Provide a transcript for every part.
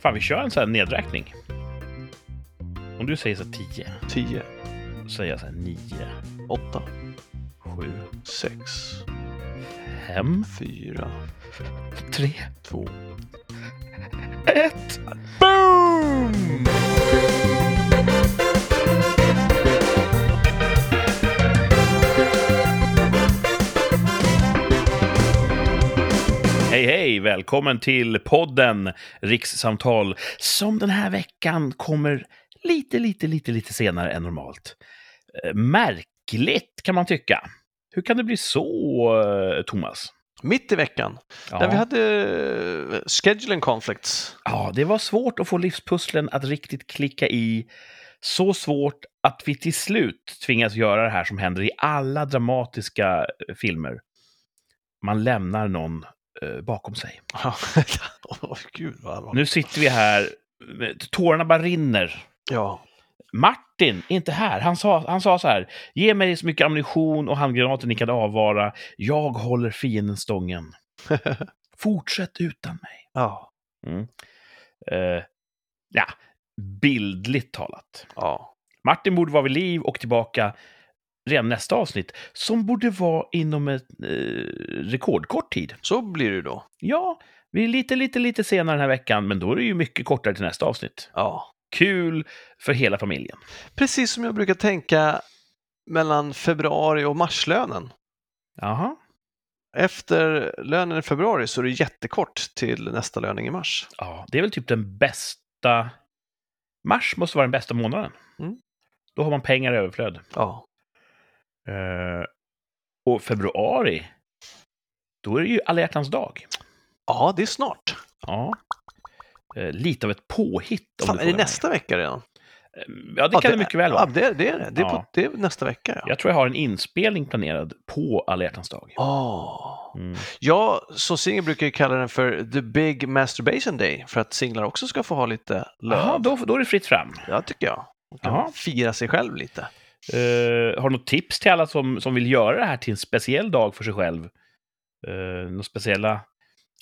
Fan, vi kör en sån här nedräkning. Om du säger så här 10, 10, så säger jag så här 9, 8, 7, 6, 5, 4, 3, 2. 1. Boom! Hej hej! Välkommen till podden Rikssamtal som den här veckan kommer lite, lite, lite, lite senare än normalt. Eh, Märkligt kan man tycka. Hur kan det bli så, eh, Thomas? Mitt i veckan, Ja. när vi hade eh, scheduling conflicts. Ja, det var svårt att få livspusslen att riktigt klicka i. Så svårt att vi till slut tvingas göra det här som händer i alla dramatiska eh, filmer. Man lämnar någon eh, bakom sig. Åh, gud vad allvarligt. Nu sitter vi här, eh, tårarna bara rinner. Ja, Martin är inte här. Han sa, han sa så här, ge mig så mycket ammunition och handgranater ni kan avvara. Jag håller fienden stången. Fortsätt utan mig. ja, Eh, ja, bildligt talat. ja. Martin borde vara vid liv och tillbaka redan nästa avsnitt, som borde vara inom en eh, rekordkort tid. Så blir det då. Ja, vi är lite, lite, lite senare den här veckan, men då är det ju mycket kortare till nästa avsnitt. Ja. Kul för hela familjen. Precis som jag brukar tänka mellan februari och marslönen. Jaha. Efter lönen i februari så är det jättekort till nästa löning i mars. Ja, det är väl typ den bästa... Mars måste vara den bästa månaden. Mm. Då har man pengar i överflöd. Ja, Eh, och februari, då är det ju alla hjärtans dag. ja det är snart. Ja. Eh, lite av ett påhitt. om Fan, du är det frågar mig. nästa vecka redan? Ja, det kan det mycket väl Ja, vara. det, är- det är det. Det är, Ja. på, det är nästa vecka. Ja. Jag tror jag har en inspelning planerad på alla hjärtans dag. Åh. Mm. Jag som singel brukar ju kalla den för the big masturbation day för att singlar också ska få ha lite löv. Jaha, då, då är det fritt fram. Ja, tycker jag. Man kan Jaha. fira sig själv lite. Eh, har du något tips till alla som, som vill göra det här till en speciell dag för sig själv? Uh, några speciella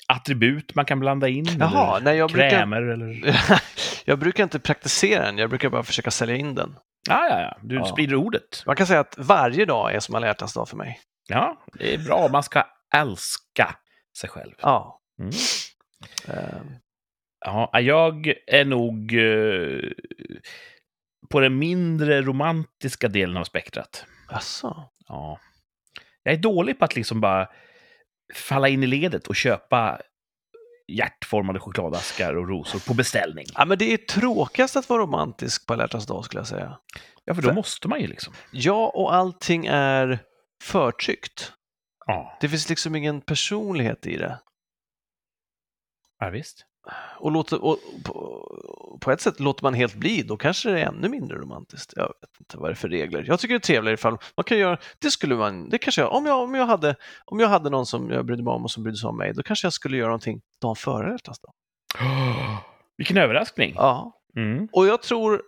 attribut man kan blanda in? Jaha, eller nej, jag brukar, krämer eller... jag brukar inte praktisera den, jag brukar bara försöka sälja in den. Ja, ja, ja. Du Ja. sprider ordet. Man kan säga att varje dag är som alla hjärtans dag för mig. Ja, det är bra. Man ska älska sig själv. Ja. Mm. Eh, Ja, jag är nog eh, på den mindre romantiska delen av spektrat. Jaså? Ja. Jag är dålig på att liksom bara falla in i ledet och köpa hjärtformade chokladaskar och rosor på beställning. Ja, men det är tråkigast att vara romantisk på alla hjärtans dag skulle jag säga. Ja, för då måste man ju liksom. Ja, och allting är förtryckt. Ja, Det finns liksom ingen personlighet i det. ja visst. Och, låter, och på, på ett sätt låter man helt bli, då kanske det är ännu mindre romantiskt. Jag vet inte vad det är för regler. Jag tycker det är trevligare ifall man kan göra, det skulle man, det kanske jag, om jag, om jag, hade, om jag hade någon som jag brydde mig om och som brydde sig om mig, då kanske jag skulle göra någonting dagen före hjärtans dag. Vilken överraskning. Ja, Mm. och jag tror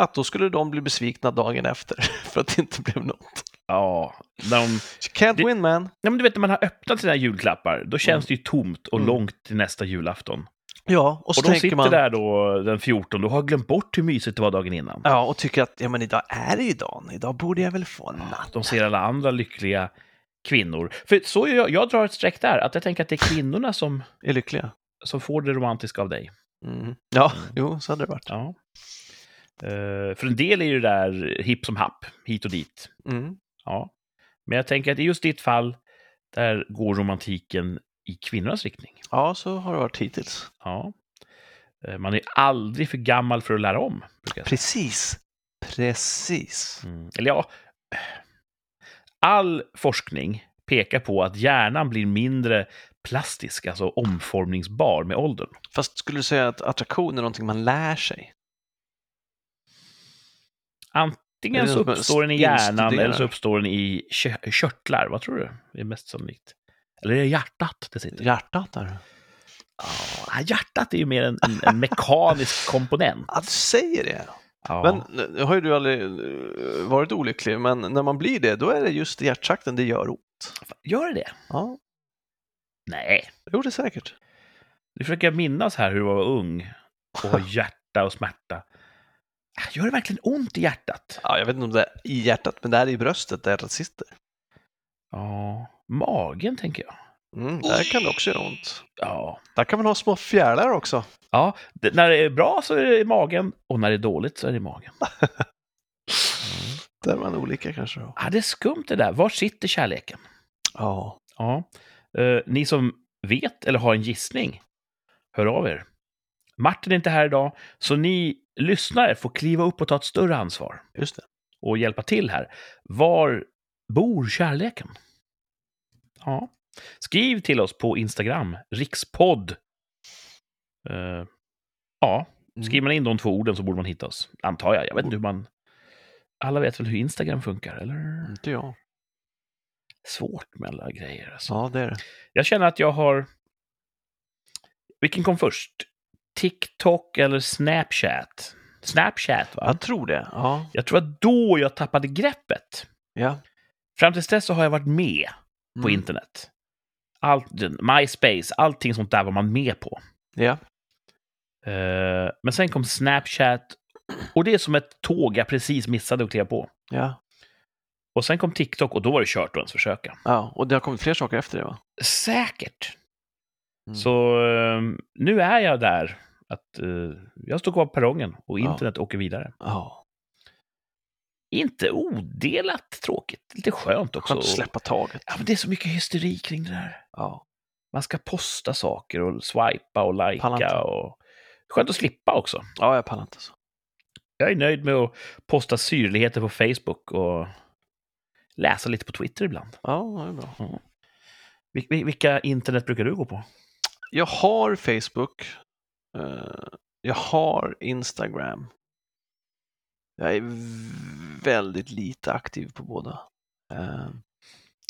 att då skulle de bli besvikna dagen efter för att det inte blev något. Ja, när de, Can't Det- win man. ja, men du vet när man har öppnat sina julklappar, då känns det ju tomt och Mm. långt till nästa julafton. Ja, och så Och de tänker sitter man, där då den 14 och har glömt bort hur mysigt det var dagen innan. ja, och tycker att ja, men idag är det ju dagen, idag borde jag väl få en natt. De ser alla andra lyckliga kvinnor. För så är jag, jag drar ett streck där, att jag tänker att det är kvinnorna som, Är lyckliga. som får det romantiska av dig. Mm. Ja, jo, så hade det varit. Ja. Eh, för en del är ju det där hipp som happ, hit och dit. Mm. Ja. Men jag tänker att i just ditt fall, där går romantiken i kvinnornas riktning. Ja, så har det varit hittills. Ja. Eh, Man är aldrig för gammal för att lära om. brukar jag säga. Precis. Precis. Mm. Eller ja, all forskning pekar på att hjärnan blir mindre plastisk, alltså omformningsbar med åldern. Fast skulle du säga att attraktion är någonting man lär sig? Är Antingen det så något man uppstår den i hjärnan instuderar? eller så uppstår den i kö- körtlar. Vad tror du det är mest sannolikt? Eller är det hjärtat det sitter? Hjärtat där. Ja, hjärtat är ju mer en, en, en mekanisk komponent. Ja, du säger det. Ja. Men nu har ju du aldrig eh, varit olycklig, men när man blir det, då är det just i hjärtsakten det gör ont. Gör det det? Ja, Nej. det gjorde det säkert. Nu försöker jag minnas här hur jag var ung och har hjärta och smärta. Äh, Gör det verkligen ont i hjärtat? Ja, jag vet inte om det är i hjärtat, men det här är i bröstet där hjärtat sitter. Ja, magen tänker jag. Mm, där kan det också göra ont. Ja, Där kan man ha små fjärilar också. ja det, när det är bra så är det i magen och när det är dåligt så är det i magen. Mm. Där är man olika kanske då. Ah, det är skumt det där. Var sitter kärleken? Ja. Ja. Eh, ni som vet eller har en gissning, hör av er. Martin är inte här idag, så ni lyssnare får kliva upp och ta ett större ansvar Just det. och hjälpa till här. Var bor kärleken? Ja. Skriv till oss på Instagram, rikspodd. Eh, ja, skriver man in de två orden så borde man hitta oss, antar jag. Jag vet inte hur man... Alla vet väl hur Instagram funkar, eller? Inte jag. Svårt med alla grejer. Alltså. Ja, det är det. Jag känner att jag har... Vilken kom först? TikTok eller Snapchat? Snapchat, va? Jag tror det. Ja. Jag tror att då jag tappade greppet. ja. Fram tills dess så har jag varit med på Mm. internet. Allt, MySpace, allting sånt där var man med på. Ja. Eh, men sen kom Snapchat och det är som ett tåg jag precis missade att kliva på. Ja. Och sen kom TikTok och då var det kört att ens försöka. ja. Och det har kommit fler saker efter det va? Säkert. Mm. Så eh, nu är jag där. Att, eh, jag står kvar på perrongen och Ja. internet åker vidare. Ja. Inte odelat tråkigt, lite skönt också. Skönt att släppa taget. Ja, men det är så mycket hysteri kring det där. Ja. Man ska posta saker och swipa och Pallar inte. likea. Och... Skönt att slippa också. Ja, jag pallar inte så. Jag är nöjd med att posta syrligheter på Facebook och läsa lite på Twitter ibland. Ja, det är bra. Vil- vil- vilka internet brukar du gå på? Jag har Facebook. eh, jag har Instagram. Jag är v- väldigt lite aktiv på båda. Eh,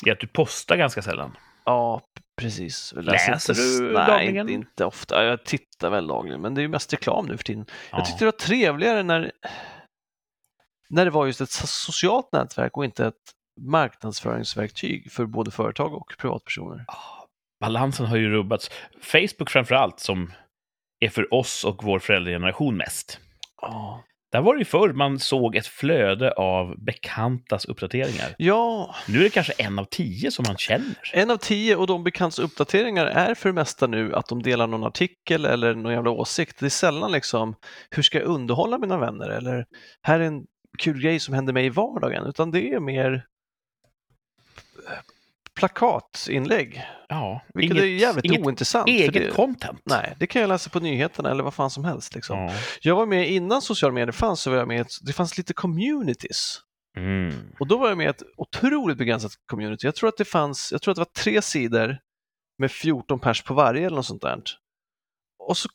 Det är att du postar ganska sällan. ja, p- precis. Jag Läser inte, du nej, dagligen? Inte, inte ofta. Jag tittar väl dagligen, men det är ju mest reklam nu för tiden. Ja. Jag tyckte det var trevligare när, när det var just ett so- socialt nätverk och inte ett marknadsföringsverktyg för både företag och privatpersoner. Ah, Balansen har ju rubbats. Facebook framför allt, som är för oss och vår föräldrageneration mest. Ja, Där var det ju förr man såg ett flöde av bekantas uppdateringar. ja Nu är det kanske en av tio som man känner. En av tio och de bekants uppdateringar är för det mesta nu att de delar någon artikel eller någon jävla åsikt. Det är sällan liksom, hur ska jag underhålla mina vänner? Eller, här är en kul grej som händer mig i vardagen. Utan det är mer plakatinlägg, Ja, vilket är jävligt inget ointressant. för eget det, content. nej, det kan jag läsa på nyheterna eller vad fan som helst. Liksom. Ja. Jag var med innan sociala medier fanns, så var jag med i ett, det fanns lite communities. Mm. Och då var jag med i ett otroligt begränsat community. Jag tror att det fanns, jag tror att det var tre sidor med 14 pers på varje eller något sånt där. Och så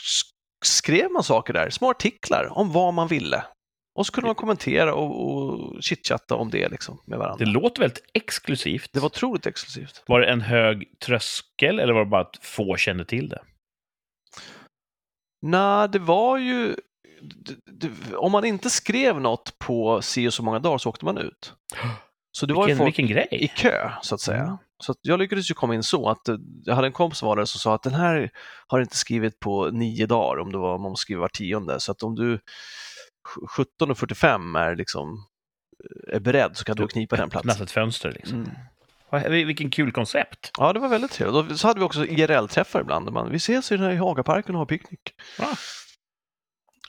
sk- skrev man saker där, små artiklar om vad man ville. Och så kunde man kommentera och, och chitchatta om det liksom med Det varandra. låter väldigt exklusivt. Det var otroligt exklusivt. Var det en hög tröskel eller var det bara att få kände till det? Nej, det var ju... d- d- Om man inte skrev något på si och så många dagar så åkte man ut. Så det var ju Vilken, folk vilken i grej! kö, så att säga. Mm. Så att jag lyckades ju komma in så att eh, jag hade en kompis som var där som sa att den här har inte skrivit på nio dagar, om det var, man måste skriva var tionde, så att om du sj- 17.45 är liksom eh, är beredd så kan du knipa den Öppnas platsen. ett fönster liksom. Mm. Vad- Vilken kul koncept! Ja, det var väldigt trevligt. Och så hade vi också IRL-träffar ibland. där Man, vi ses i den här i Hagaparken och har picknick. Ah.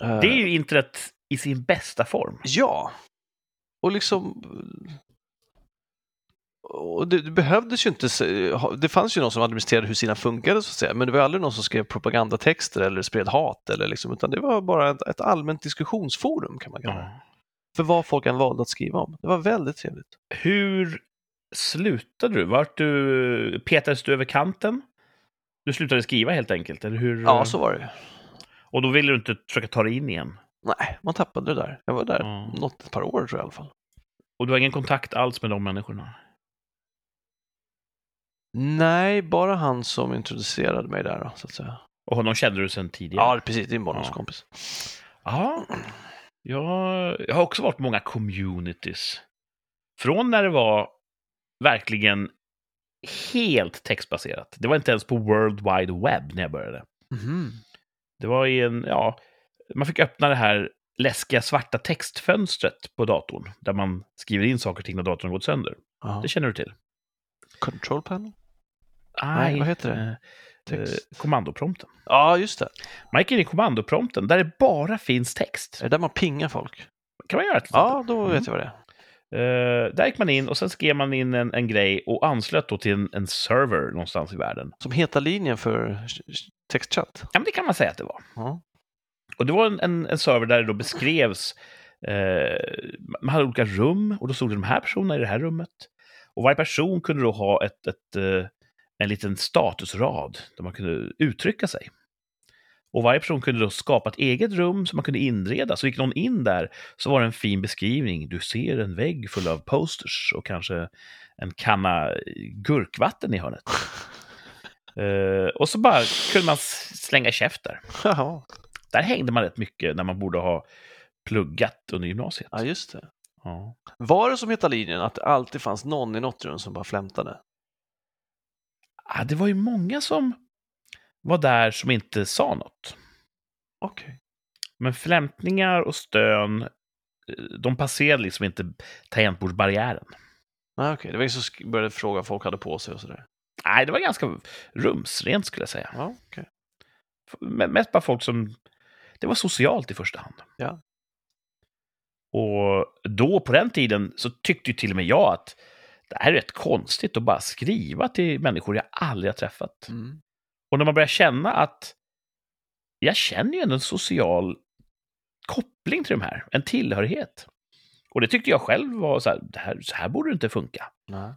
Eh, Det är ju internet i sin bästa form. Ja. Och liksom... Och det, det behövdes ju inte... se- ha- Det fanns ju någon som administrerade hur sina funkade, så att säga. men det var aldrig någon som skrev propagandatexter eller spred hat, eller liksom, utan det var bara ett, ett allmänt diskussionsforum, kan man kalla det. Ja. För vad folk än valde att skriva om. Det var väldigt trevligt. Hur slutade du? Vart du petades du över kanten? Du slutade skriva helt enkelt, eller hur? Ja, så var det ju. Och då ville du inte försöka ta dig in igen? Nej, man tappade det där. Jag var där Ja. något ett par år, tror jag i alla fall. Och du har ingen kontakt alls med de människorna? Nej, bara han som introducerade mig där, då, så att säga. Och honom kände du sedan tidigare? Ja, precis. Din barndomskompis. Ja. Jag, jag har också varit på många communities. Från när det var verkligen helt textbaserat. Det var inte ens på World Wide Web när jag började. Mhm. Det var i en, ja, man fick öppna det här läskiga svarta textfönstret på datorn, där man skriver in saker och ting när datorn gått sönder. Ja. Det känner du till? Control panel? Nej, vad heter det? eh, eh, Text. Kommandoprompten. Ja, just det. Man gick in i kommandoprompten där det bara finns text. Är det där man pingar folk? kan man göra till exempel. Ja, då vet jag vad det är. Eh, där gick man in och sen skrev man in en, en grej och anslöt då till en, en server någonstans i världen. Som heta linjen för textchatt. Ja, men det kan man säga att det var. Ja. Och det var en, en, en server där det då beskrevs, eh, man hade olika rum och då stod det de här personerna i det här rummet. Och varje person kunde då ha ett, ett, eh, en liten statusrad där man kunde uttrycka sig. Och varje person kunde då skapa ett eget rum som man kunde inreda. Så gick någon in där så var det en fin beskrivning. Du ser en vägg full av posters och kanske en kanna gurkvatten i hörnet. Eh, och så bara kunde man s- slänga käft där. Jaha. Där hängde man rätt mycket när man borde ha pluggat under gymnasiet. Ja, just det. Ja. Var det som heta linjen att det alltid fanns någon i något rum som bara flämtade? Ah, det var ju många som var där som inte sa något. Okej. Men flämtningar och stön, eh, de passerade liksom inte tangentbordsbarriären. Nej, okej. Det var ju så sk- började fråga vad folk hade på sig och sådär. Nej, det var ganska rumsrent skulle jag säga. Ja, okej. F- me- Mest bara folk som... Det var socialt i första hand. Ja. Och då, på den tiden, så tyckte ju till och med jag att det här är rätt konstigt att bara skriva till människor jag aldrig har träffat. Mm. Och när man börjar känna att jag känner ju ändå en social koppling till de här, en tillhörighet. Och det tyckte jag själv var så här, det här, så här borde det inte funka. Nej.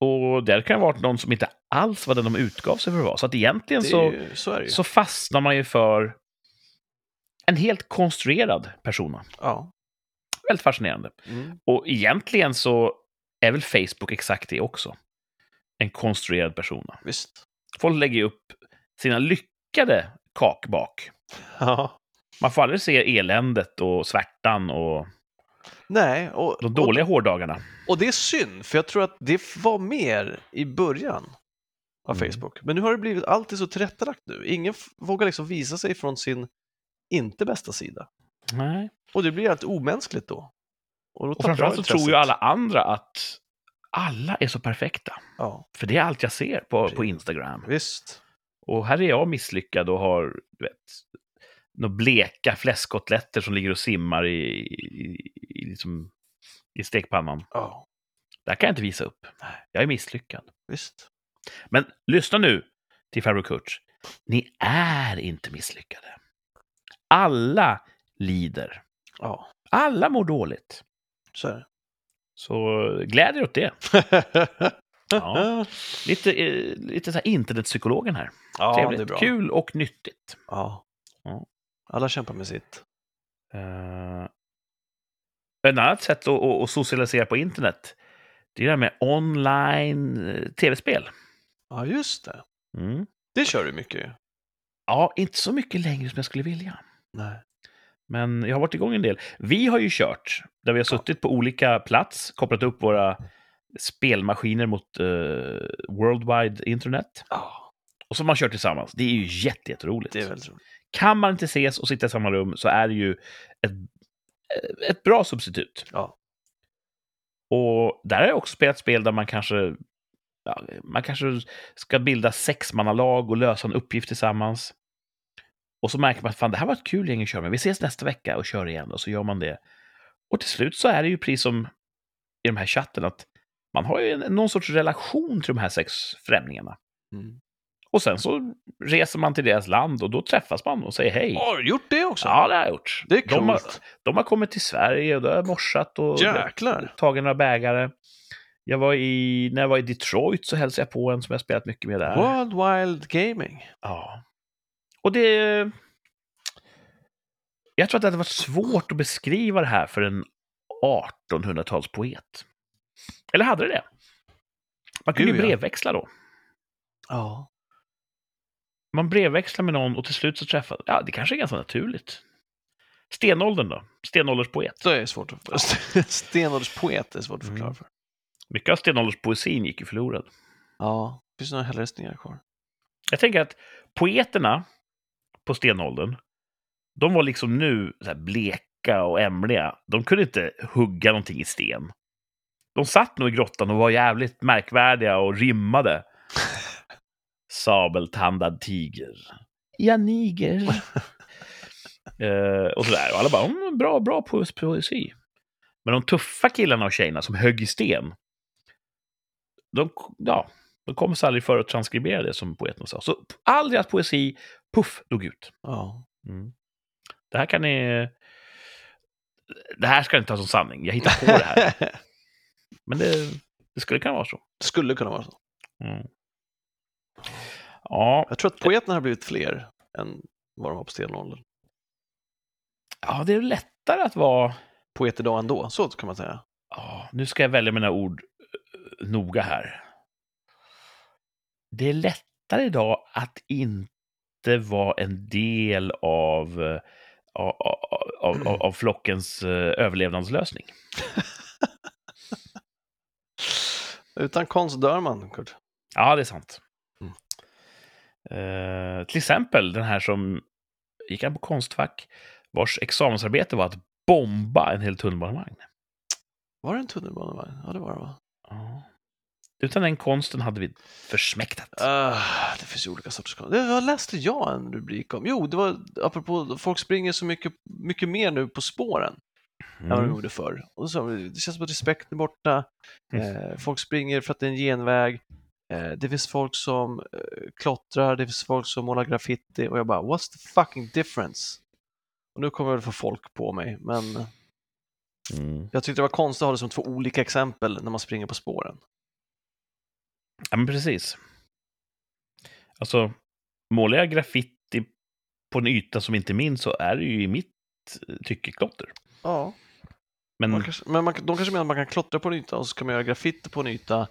Och där kan det ha varit någon som inte alls var den de utgav sig för att vara. Så att egentligen Det så, är ju, så är det ju. så fastnar man ju för en helt konstruerad persona. Ja. Väldigt fascinerande. Mm. Och egentligen så är väl Facebook exakt det också. En konstruerad persona. Visst. Folk lägger ju upp sina lyckade kakbak Ja. Man får aldrig se eländet och svärtan och Nej, och, de och, dåliga hårdagarna. och det är synd, för jag tror att det var mer i början av Mm. Facebook. Men nu har det blivit alltid så tillrättalagt nu. Ingen f- vågar liksom visa sig från sin inte bästa sida. Nej. Och det blir helt omänskligt då. Och, då Och tappar framförallt så intresset. tror ju alla andra att alla är så perfekta. Ja, För det är allt jag ser på, på Precis. Instagram. visst. Och här är jag misslyckad och har, du vet, några bleka fläskkotletter som ligger och simmar i, i, i, liksom, i stekpannan. Ja, Det här kan jag inte visa upp. Jag är misslyckad. visst. Men lyssna nu till farbror Kurt. Ni är inte misslyckade. Alla lider. Ja, Alla mår dåligt. så är det. Så gläd er åt det. Ja. Lite, eh, lite så här internetpsykologen här. ja Trevligt. det är bra. Kul och nyttigt. Ja. Ja. Alla kämpar med sitt. Uh, ett annat sätt att, att, att socialisera på internet, det är det här med online eh, tv-spel. Ja, just det. Mm. Det kör du mycket ju. Ja, inte så mycket längre som jag skulle vilja. Nej. Men jag har varit igång en del. Vi har ju kört, där vi har suttit på olika plats, kopplat upp våra spelmaskiner mot eh, World Wide Internet. Ja, Och som man kört tillsammans. Det är ju jätte- jätteroligt. det är väldigt roligt. Kan man inte ses och sitta i samma rum så är det ju ett, eh, ett bra substitut. Ja. Och där har jag också spelat spel där man kanske, ja, man kanske ska bilda sexmannalag och lösa en uppgift tillsammans. Och så märker man att fan, det här var ett kul gäng att köra med. Vi ses nästa vecka och kör igen. Och så gör man det. Och till slut så är det ju precis som i de här chatten att man har ju en, någon sorts relation till de här sex främlingarna. Mm. Och sen så reser man till deras land och då träffas man och säger hej. Har du gjort det också? Ja, det har jag gjort. Det är de, har, coolt. de har kommit till Sverige och då har jag morsat och Jäklar. tagit några bägare. Jag var i, när jag var i Detroit så hälsade jag på en som jag spelat mycket med där. World Wild Gaming. Ja. Och det... Jag tror att det hade varit svårt att beskriva det här för en 1800-talspoet. Eller hade det det? Man kunde ju Gud, ja. brevväxla då. Ja. Man brevväxlar med någon och till slut så träffas... Ja, det kanske är ganska naturligt. Stenåldern då? Stenålderspoet. Det är svårt att förklara. Stenålderspoet är svårt att förklara Mm. för. Mycket av stenålderspoesin gick ju förlorad. Ja, det finns några hällristningar kvar. Jag tänker att poeterna på stenåldern, de var liksom nu så här bleka och ämliga. De kunde inte hugga någonting i sten. De satt nog i grottan och var jävligt märkvärdiga och rimmade. Sabeltandad tiger. Ja, niger. eh, och sådär. Och alla bara, mm, bra, bra poes- poesi. Men de tuffa killarna och tjejerna som högg i sten, de, ja, de kom sig aldrig för att transkribera det som poeten sa. Så all deras poesi, puff, dog ut. Ja. Det här kan ni... Det här ska ni inte ta som sanning. Jag hittar på det här. Men det, det skulle kunna vara så. Det skulle kunna vara så. Mm. Ja, Jag tror att poeterna har blivit fler än vad de var på stenåldern. ja, det är lättare att vara... Poet idag ändå, så kan man säga. Ja, nu ska jag välja mina ord eh, noga här. Det är lättare idag att inte vara en del av, eh, av, av, av, av flockens eh, överlevnadslösning. Utan konst dör man, Kurt. Ja, det är sant. Mm. Eh, till exempel den här som gick han på Konstfack, vars examensarbete var att bomba en hel tunnelbanevagn. Var det en tunnelbanevagn? Ja, det var det va? Ja. Utan den konsten hade vi försmäktat. Ah, det finns ju olika sorters konst. Det vad läste jag en rubrik om. Jo, det var apropå folk springer så mycket, mycket mer nu på spåren än vad de Mm. gjorde förr. Och så, det känns som att respekten är borta. Mm. Eh, folk springer för att det är en genväg. Eh, det finns folk som eh, klottrar, det finns folk som målar graffiti och jag bara what's the fucking difference? Och nu kommer jag väl få folk på mig, men Mm. jag tyckte det var konstigt att ha det som två olika exempel när man springer på spåren. Ja, men precis. Alltså, målar jag graffiti på en yta som inte är min så är det ju i mitt eh, tycke klotter. Ja. Men Man kanske, men man, de kanske menar att man kan klottra på en yta och så kan man göra graffiti på en yta.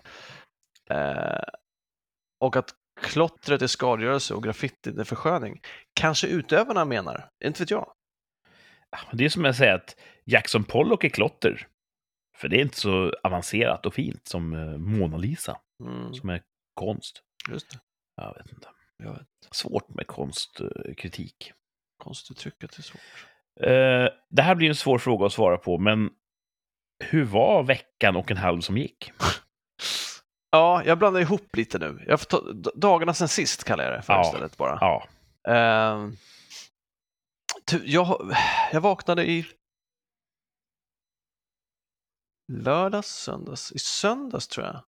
Eh, och att klottret är skadegörelse och graffitin är försköning. Kanske utövarna menar, inte vet jag. Ah, det är som jag säger att Jackson Pollock är klotter. För det är inte så avancerat och fint som eh, Mona Lisa. Mm, som är konst. just det. Jag vet inte. Jag vet. Svårt med konstkritik. Konstuttrycket är svårt. Eh, det här blir en svår fråga att svara på, men hur var veckan och en halv som gick? Ja, jag blandar ihop lite nu. Jag får ta, d- dagarna sen sist kallar jag det för Ja. istället bara. Ja, Ehm, tu- jag, jag vaknade i lördags, söndags, i söndags tror jag.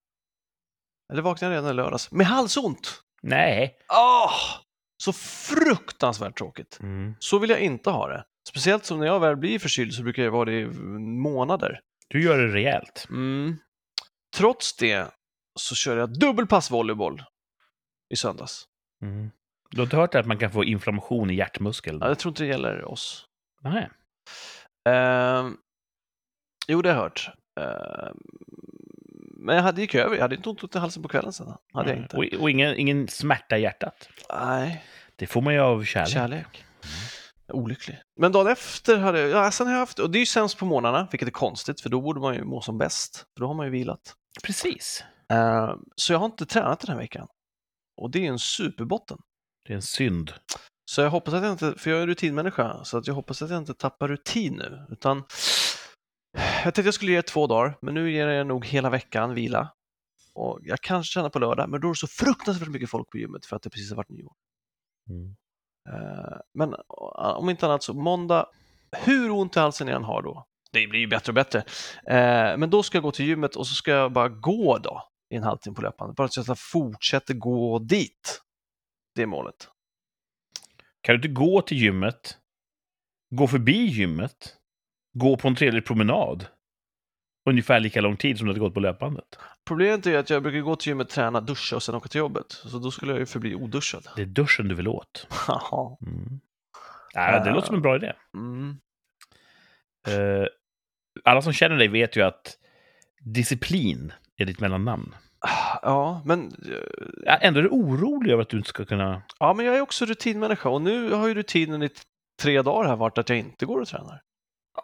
Eller vaknade jag redan i lördags. Med halsont! nej. Ah, så fruktansvärt tråkigt. Så vill jag inte ha det. Speciellt som när jag väl blir förkyld så brukar jag vara det i månader. Du gör det rejält. Mm. Trots det så körde jag dubbelpass volleyboll i söndags. Du har inte hört att man kan få inflammation i hjärtmuskeln? Mm. Ja, jag tror inte det gäller oss. Nej. Ehm, jo, det har jag hört. Ehm, men jag hade gick över. Jag hade inte ont i halsen på kvällen sen. Hade jag inte. Och, och ingen, ingen smärta i hjärtat. Nej, Det får man ju av kärlek. kärlek. Olycklig. Men dagen efter hade jag, ja, sen har jag haft, och det är ju sämst på morgnarna, vilket är konstigt, för då borde man ju må som bäst, för då har man ju vilat. Precis. Ehm, så jag har inte tränat den här veckan. Och det är en superbotten. Det är en synd. Så jag hoppas att jag inte, för jag är en rutinmänniska, så att jag hoppas att jag inte tappar rutin nu. Utan jag tänkte jag skulle ge er två dagar, men nu ger jag nog hela veckan vila. Och jag kanske tränar på lördag, men då är det så fruktansvärt mycket folk på gymmet för att det precis har varit nyår. Mm. Eh, Men eh, om inte annat så måndag, hur ont i halsen jag än har då, det blir ju bättre och bättre, Eh, men då ska jag gå till gymmet och så ska jag bara gå då i en halvtimme på löpande, bara så att jag fortsätter gå dit. Det är målet. Kan du inte gå till gymmet, gå förbi gymmet, gå på en trevlig promenad ungefär lika lång tid som du hade gått på löpbandet? Problemet är ju att jag brukar gå till gymmet, träna, duscha och sen åka till jobbet. Så då skulle jag ju förbli oduschad. Det är duschen du vill åt. Mm. Haha. Nej, det Ah. låter som en bra idé. mm. Eh, alla som känner dig vet ju att disciplin är ditt mellannamn. Ah, Ja, men, eh, Ja, Ändå är du orolig över att du inte ska kunna... ja, men jag är också rutinmänniska och nu har ju rutinen i t- tre dagar här varit att jag inte går och tränar.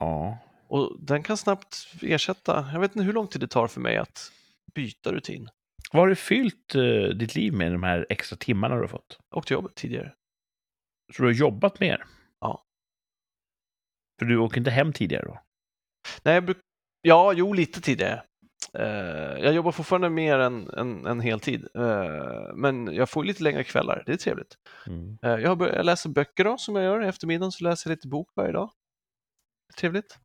Ja. Och den kan snabbt ersätta, jag vet inte hur lång tid det tar för mig att byta rutin. Vad har du fyllt eh, ditt liv med de här extra timmarna du har fått? Jag åkte till jobbet tidigare. Så du har jobbat mer? Ja. För du åker inte hem tidigare då? Nej, jag bruk... Ja, jo, lite tidigare. Eh, jag jobbar fortfarande mer än, än, än heltid, eh, men jag får lite längre kvällar. Det är trevligt. Mm. Eh, jag, har börjat, jag läser böcker då, som jag gör. I eftermiddagen så läser jag lite bok varje dag. Trevligt.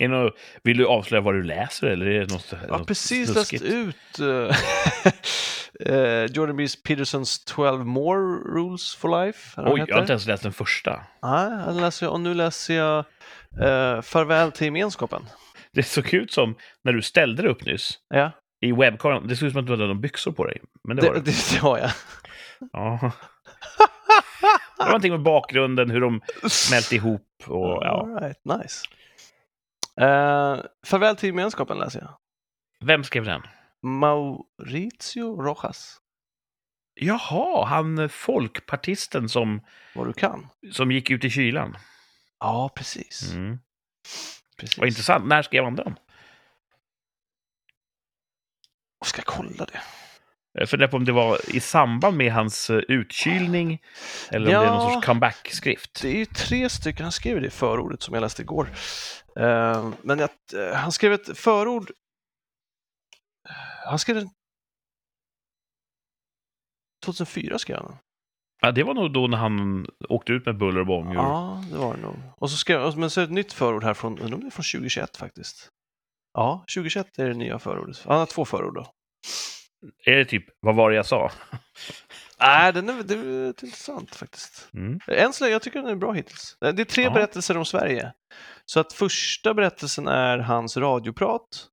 Är det nå- vill du avslöja vad du läser eller är det något Jag har något precis snuskigt? läst ut eh, eh, Jordan B. Petersons 12 more rules for life. eller vad Oj, heter jag har inte det? ens läst den första. Nej, jag läser, och nu läser jag eh, Farväl till gemenskapen. Det såg ut som, när du ställde dig upp nyss, Ja, i webbkameran, det såg ut som att du hade några byxor på dig. Men det det, var det. det, det har jag. Ja. Det var någonting med bakgrunden, hur de smälte ihop och ja. All right, nice. Eh, farväl till gemenskapen läser jag. Vem skrev den? Mauricio Rojas, Jaha, han eh, folkpartisten som, vad du kan. som gick ut i kylan. Ja, precis. Mm. precis. Vad intressant. När skrev han den? Jag ska kolla det. Jag funderar på om det var i samband med hans eh, utkylning eller om det är någon Ja. sorts comeback-skrift. Det är ju tre stycken, han skrev det i förordet som jag läste igår. Eh, men att, eh, han skrev ett förord. Han skrev en... 2004 skrev han. Ja, det var nog då när han åkte ut med buller och bång. ur- Ja, det var det nog. Och så skrev jag, men så är det ett nytt förord här från, undrar om det är från 2021 faktiskt. Ja, 2021 är det nya förordet. Han har två förord då. Är det typ, vad var det jag sa? Nej, den är, det är lite intressant faktiskt. Mm. Än så länge, jag tycker den är bra hittills. Eh, Det är tre Ja. berättelser om Sverige. Så att första berättelsen är hans radioprat.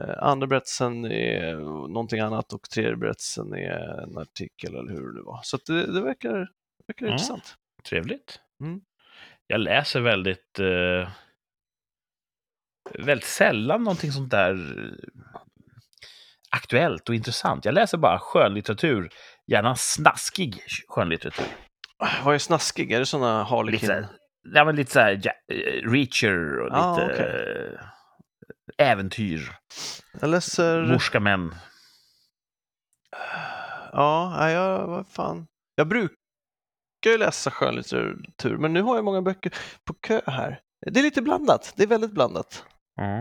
Eh, Andra berättelsen är någonting annat och tredje berättelsen är en artikel eller hur det var. Så att det, det verkar, det verkar Ja. intressant. Trevligt. Mm. Jag läser väldigt, eh, väldigt sällan någonting sånt där eh, aktuellt och intressant. Jag läser bara skönlitteratur, gärna snaskig skönlitteratur. Ah, Vad är snaskig? Är det sådana Lite, så här- harlekin? ja, men lite så här, ja, eh, Reacher och Ah, lite eh, äventyr. Jag läser... Morska män. Ja, nej, jag, vad fan. Jag brukar ju läsa skönlitteratur, men nu har jag många böcker på kö här. Det är lite blandat. Det är väldigt blandat. Ja.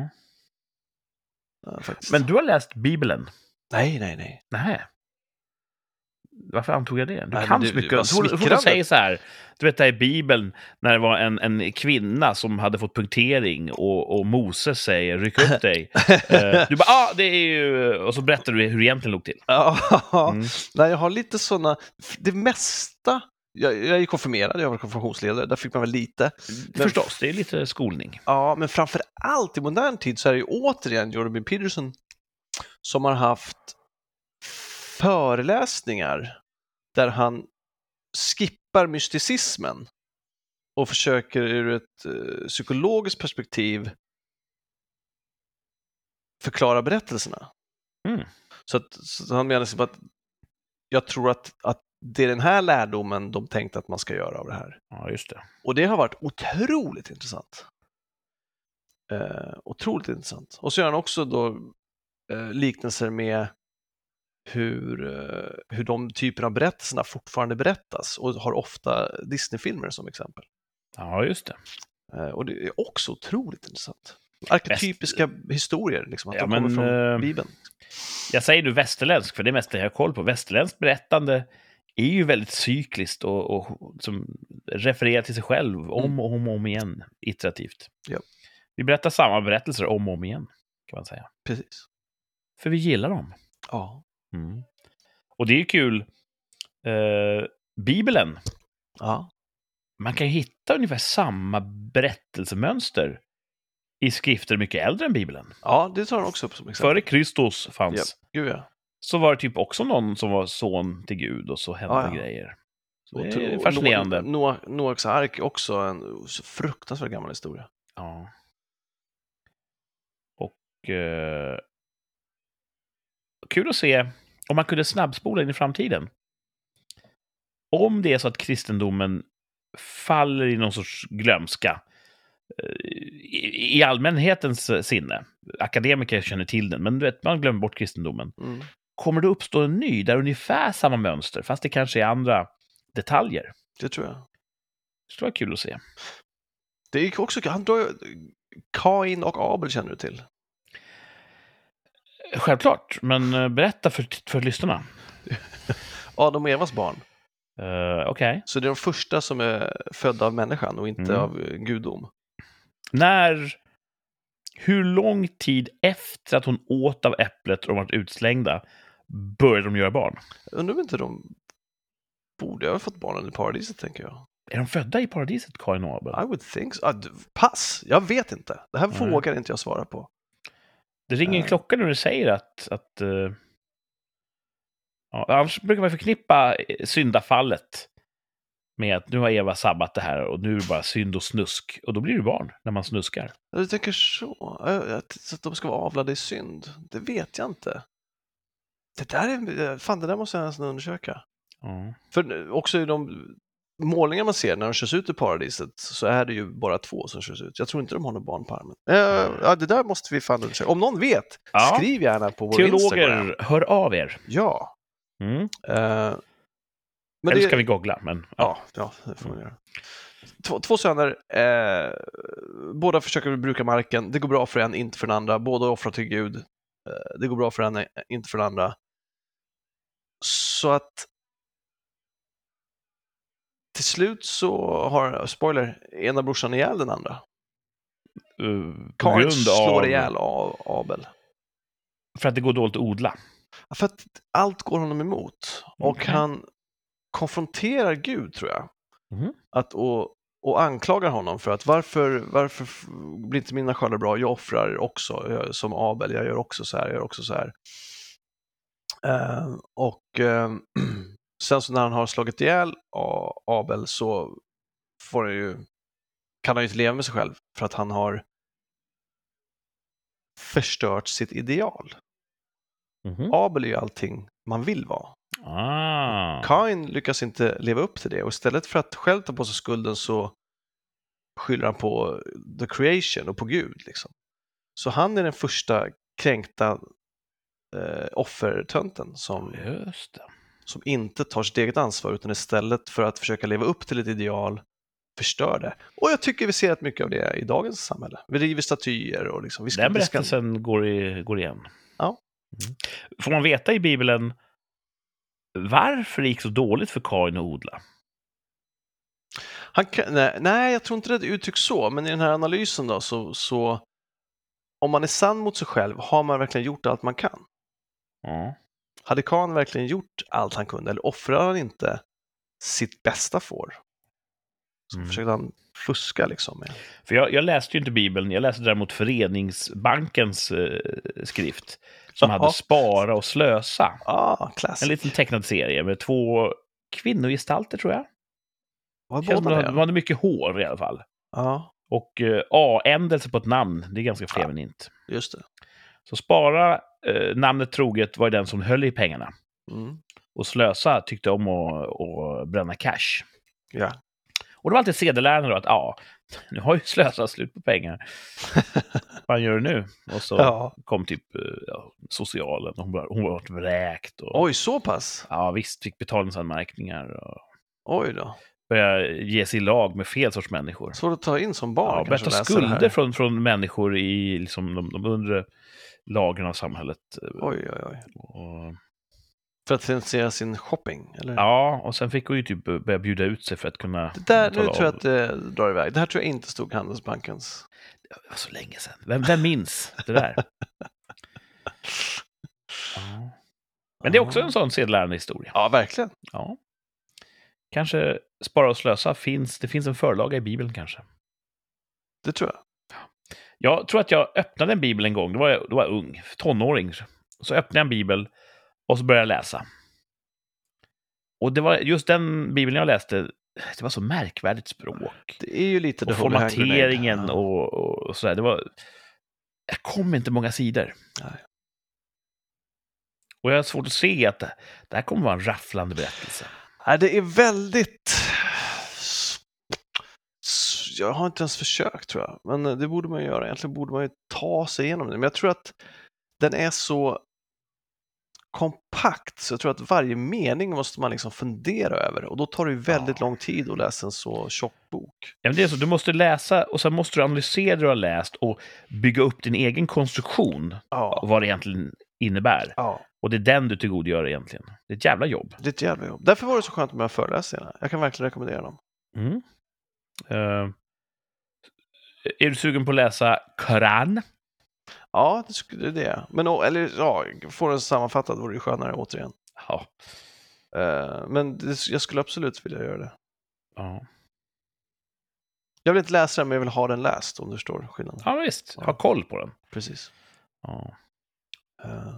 eh, faktiskt. Men du har läst Bibeln? Nej, nej, nej. Nej. Varför antog jag det? Du Nej, men kan det- så det mycket. var Så fort- så fort de smickrande. säger så här, du vet det här i Bibeln, när det var en, en kvinna som hade fått punktering och, och Moses säger ryck upp dig. Eh, du bara, ah, det är ju... Och så berättar du hur det egentligen låg till. Ja, Mm. nej, jag har lite sådana, det mesta, jag, jag är konfirmerad, jag var konfirmationsledare, där fick man väl lite. Men- Förstås, det är lite skolning. Ja, men framför allt i modern tid så är det ju återigen Jordan B. Peterson som har haft föreläsningar där han skippar mysticismen och försöker ur ett eh, psykologiskt perspektiv förklara berättelserna. Mm. Så, att, så han menar liksom att jag tror att, att det är den här lärdomen de tänkte att man ska göra av det här. Ja, just det. Och det har varit otroligt intressant. Eh, otroligt intressant. Och så gör han också då eh, liknelser med hur, eh, hur de typerna av berättelserna fortfarande berättas och har ofta Disney-filmer som exempel. Ja, just det. Eh, och det är också otroligt intressant. Arketypiska historier, liksom, att Ja, de men, kommer från eh, Bibeln. Jag säger nu västerländsk, för det är mest det jag har koll på. Västerländskt berättande är ju väldigt cykliskt och, och som refererar till sig själv om och om, och om igen, iterativt. Mm. Ja. Vi berättar samma berättelser om och om igen, kan man säga. Precis. För vi gillar dem. Ja. Mm. Och det är ju kul. Eh, Bibeln, ja. man kan ju hitta ungefär samma berättelsemönster i skrifter mycket äldre än Bibeln. Ja, det tar han också upp som exempel. Före Kristus fanns Ja. Gud, ja. så var det typ också någon som var son till Gud och så hände Ja, ja. grejer. Så Och det tro- är fascinerande. Noa- Noa- Noaks ark är också en så fruktansvärt gammal historia. Ja. Och... Eh, kul att se om man kunde snabbspola in i framtiden. Om det är så att kristendomen faller i någon sorts glömska eh, i, i allmänhetens sinne, akademiker känner till den, men du vet, man glömmer bort kristendomen. Mm. Kommer det uppstå en ny där ungefär samma mönster, fast det kanske är andra detaljer? Det tror jag. Det skulle vara kul att se. Det är också, han drar ju, Kain och Abel känner du till. Självklart, men eh, berätta för, för lyssnarna. Adam och Evas barn. Uh, Okej. Så det är de första som är födda av människan och inte Mm. av eh, gudom. När... Hur lång tid efter att hon åt av äpplet och de varit utslängda började de göra barn? Jag undrar om inte de borde ha fått barnen i paradiset, tänker jag. Är de födda i paradiset, Kain och Abel? I would think so. Ah, d- pass, jag vet inte. Det här Nej. vågar inte jag svara på. Det ringer en Eh. klocka när du säger att... att eh, ja, annars brukar man förknippa eh, syndafallet med att nu har Eva sabbat det här och nu är det bara synd och snusk. Och då blir du barn när man snuskar. Ja, Du tänker så? Eh, Att, så att de ska vara avlade i synd? Det vet jag inte. Det där är, eh, fan det där måste jag nästan undersöka. Ja. För nu- också i de målningar man ser när de körs ut ur paradiset så är det ju bara två som körs ut. Jag tror inte de har något barn på armen. Eh, ja, det där måste vi fan undersöka. Om någon vet, Ja. skriv gärna på vår Instagram. Teologer, hör av er. Ja. Mm. Eh, men Eller det, ska vi googla? Men, Ja, ja, det får man göra. Två, två söner, eh, båda försöker bruka marken. Det går bra för en, inte för den andra. Båda offrar till Gud. Eh, det går bra för en, eh, inte för den andra. Så att till slut så har, spoiler, ena brorsan ihjäl den andra. Uh, på Karin grund slår av... ihjäl A- Abel. För att det går dåligt att odla. För att allt går honom emot. Och Okej. han konfronterar Gud, tror jag. Mhm. Att, och, och anklagar honom för att varför, varför f- blir inte mina skördar bra? Jag offrar också, jag, som Abel, jag gör också så här, jag gör också så här. Eh, och eh, sen så när han har slagit ihjäl A- Abel så får han ju, kan han ju inte leva med sig själv för att han har förstört sitt ideal. Mhm. Abel är ju allting man vill vara. Ah. Kain lyckas inte leva upp till det och istället för att själv ta på sig skulden så skyller han på the creation och på Gud. Liksom. Så han är den första kränkta eh, offertönten som, Just det. som inte tar sitt eget ansvar utan istället för att försöka leva upp till ett ideal förstör det. Och jag tycker vi ser rätt mycket av det i dagens samhälle. Vi river statyer och liksom, vi ska, Den vi ska, berättelsen går, i, går igen. Ja. Mm. Får man veta i Bibeln varför det gick så dåligt för Kain att odla? Han kan, nej, nej, jag tror inte det uttrycks så, men i den här analysen då så, så om man är sann mot sig själv, har man verkligen gjort allt man kan? Ja. Hade Kahn verkligen gjort allt han kunde eller offrar han inte sitt bästa får? Så Mm. försökte han fuska liksom. Med. För jag, jag läste ju inte Bibeln, jag läste däremot Föreningsbankens eh, skrift. Som Jaha. hade Spara och Slösa. Ah, En classic. liten tecknad serie med två kvinnogestalter tror jag. Vad Känns som de båda hade- de det? hade mycket hår i alla fall. Ja, Och eh, A-ändelse på ett namn, det är ganska feminint. just det. Så Spara, eh, namnet troget, var ju den som höll i pengarna. Mm. Och Slösa tyckte om att, att bränna cash. Ja. Och det var alltid sedelärarna då att ja, nu har ju Slösa slut på pengar. Vad gör du nu? Och så ja. kom typ eh, ja, socialen. Hon, bara, hon var vräkt. Och, Oj, så pass? ja, visst, fick betalningsanmärkningar. Och Oj då. började ge sig i lag med fel sorts människor. Svårt att ta in som Ja, barn. började kanske ta att läsa det här. skulder från, från människor i liksom, de, de undre lagren av samhället. Oj, oj, oj. Och, För att finansiera sin shopping? Eller? ja, och sen fick hon ju typ börja bjuda ut sig för att kunna... Det där, nu betala tror jag av. att det drar iväg. Det här tror jag inte stod i Handelsbankens. Det var så Alltså, länge sedan. Vem, vem minns det där? Ja. Men det är också en sån sedelärande historia. Ja, verkligen. Ja. Kanske Spara och slösa finns. Det finns en förlaga i Bibeln kanske. Det tror jag. Jag tror att jag öppnade en bibel en gång. Då var jag, då var jag ung, tonåring. Så öppnade jag en bibel och så började jag läsa. Och det var just den bibeln jag läste, det var så märkvärdigt språk. Det är ju lite Och the Holy Hand Grenade. formateringen Ja. och, och sådär. Det var... Jag kom inte många sidor. Nej. Och jag har svårt att se att det, det här kommer vara en rafflande berättelse. Nej, det är väldigt s- s- jag har inte ens försökt tror jag, men eh, det borde man ju göra. Egentligen borde man ju ta sig igenom den, men jag tror att den är så kompakt så jag tror att varje mening måste man liksom fundera över och då tar det ju väldigt Ja. lång tid att läsa en så tjock bok. Ja, men det är så, du måste läsa och sen måste du analysera det du har läst och bygga upp din egen konstruktion Ja, av vad det egentligen innebär. ja. Och det är den du tillgodogör egentligen. Det är ett jävla jobb. Det är ett jävla jobb. Därför var det så skönt med de här föreläsningarna. Jag kan verkligen rekommendera dem. Mm. Eh, är du sugen på att läsa Koran? Ja, det skulle det. är. Men, å- eller ja, får den sammanfattad vore det skönare återigen. Ja. Eh, Men det, jag skulle absolut vilja göra det. Ja, Jag vill inte läsa den, men jag vill ha den läst om du förstår skillnaden. ja visst. Ha koll på den. Precis. Ja. Eh,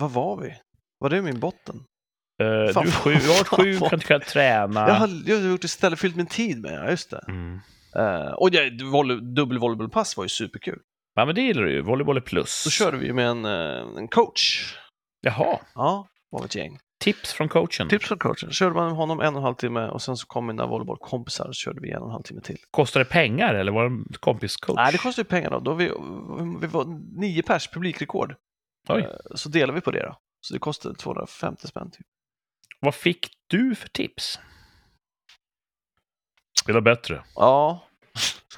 Vad var vi? Var det min botten? Eh, Fan, du är sjuk, jag fan, har sjuk, fan. kan inte kunna träna. Jag, har, jag har gjort istället, fyllt min tid med, ja just det. Mm. Eh, och ja, volley- dubbelvolleybollpass var ju superkul. Ja, men det gillar du ju. Volleyboll är plus. Då körde vi ju med en, eh, en coach. Jaha. Ja, var vi ett gäng. Tips från coachen. Tips från coachen. Körde man med honom en och en halv timme och sen så kom mina volleybollkompisar och körde vi en och en halv timme till. Kostar det pengar eller var det en kompiscoach? Nej, det kostade ju pengar då. då vi, vi var nio pers publikrekord. Oj. Eh, Så delade vi på det då. Så det kostade 250 spänn. Typ. Vad fick du för tips? Spela bättre. Ja.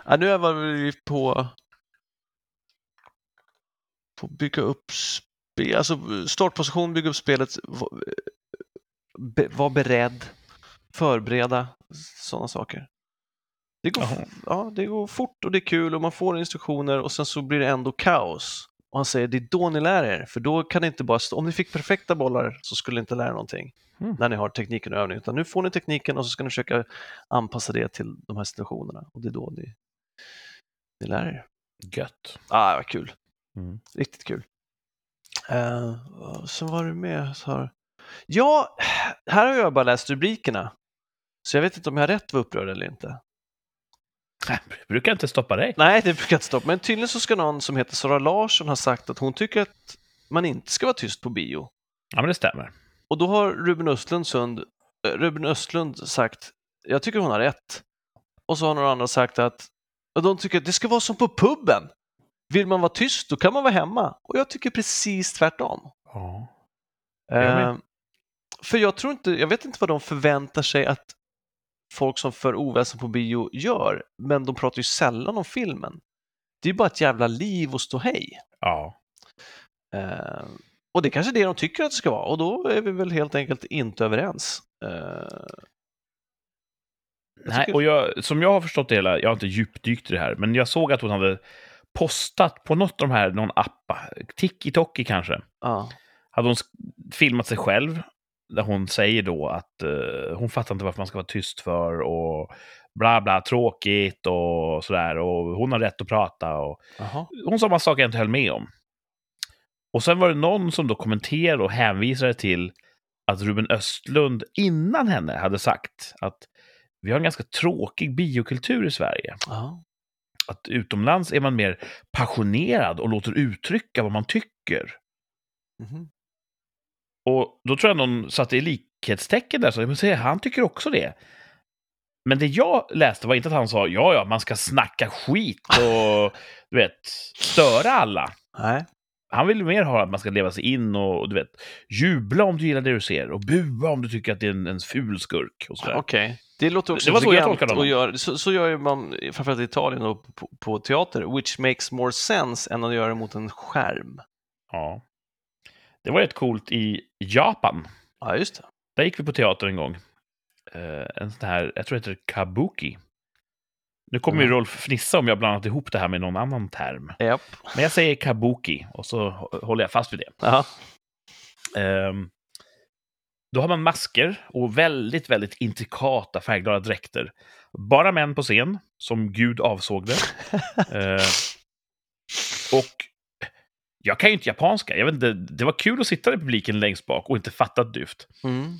ja, nu var vi på på att bygga upp spel, alltså startposition, bygga upp spelet, va- be, vara beredd, förbereda, sådana saker. Det går, Jaha. ja, det går fort och det är kul och man får instruktioner och sen så blir det ändå kaos. Och han säger det är då ni lär er, för då kan det inte bara stå, om ni fick perfekta bollar så skulle ni inte lära er någonting Mm. när ni har tekniken och övningen, utan nu får ni tekniken och så ska ni försöka anpassa det till de här situationerna och det är då ni, ni lär er. Gött. Ah, vad kul. Mm. Riktigt kul. Eh, så var du med så här. Ja, här har jag bara läst rubrikerna. Så jag vet inte om jag har rätt var upprörd eller inte. Brukar inte stoppa dig. Nej, det brukar inte stoppa. Men tydligen så ska någon som heter Sara Larsson ha sagt att hon tycker att man inte ska vara tyst på bio. Ja, men det stämmer. Och då har Ruben Östlund, Sund, eh, Ruben Östlund sagt, jag tycker hon har rätt. Och så har några andra sagt att och de tycker att det ska vara som på puben. Vill man vara tyst, då kan man vara hemma. Och jag tycker precis tvärtom. Ja. Jag med. Eh, för jag tror inte, jag vet inte vad de förväntar sig att folk som för oväsen på bio gör, men de pratar ju sällan om filmen. Det är ju bara ett jävla liv och stå hej. Ja. Eh, och det är kanske är det de tycker att det ska vara och då är vi väl helt enkelt inte överens. Eh, Jag Nej, tycker- och jag, som jag har förstått det hela, jag har inte djupdykt i det här, men jag såg att hon hade postat på något av de här, någon app, Tiki-Toki kanske, ja. hade hon sk- filmat sig själv där hon säger då att eh, hon fattar inte varför man ska vara tyst för och bla bla, tråkigt och sådär och hon har rätt att prata och Jaha. hon sa massa saker jag inte höll med om. Och sen var det någon som då kommenterade och hänvisade till att Ruben Östlund innan henne hade sagt att vi har en ganska tråkig biokultur i Sverige. Ja. Att utomlands är man mer passionerad och låter uttrycka vad man tycker. Mhm. Och då tror jag någon satte i likhetstecken där, så men se, han tycker också det. Men det jag läste var inte att han sa ja, ja, man ska snacka skit och du vet, störa alla. Nej. Han vill mer ha att man ska leva sig in och du vet, jubla om du gillar det du ser och bua om du tycker att det är en, en ful skurk. Och sådär. Okej, det låter också Det var så jag intelligent tolkade honom. och gör, så, så gör ju man framförallt i Italien och på, på teater, which makes more sense än att göra det mot en skärm. Ja. Det var rätt coolt i Japan. Ja, just det. Där gick vi på teater en gång. Eh, en sån här, jag tror det heter kabuki. Nu kommer ju Mm. Rolf fnissa om jag blandat ihop det här med någon annan term. Japp. Men jag säger kabuki och så hå- håller jag fast vid det. Ja. Ehm, då har man masker och väldigt, väldigt intrikata färgglada dräkter. Bara män på scen, som Gud avsåg det. Ehm, och jag kan ju inte japanska. Jag vet inte, det var kul att sitta i publiken längst bak och inte fatta ett dyft. Mm.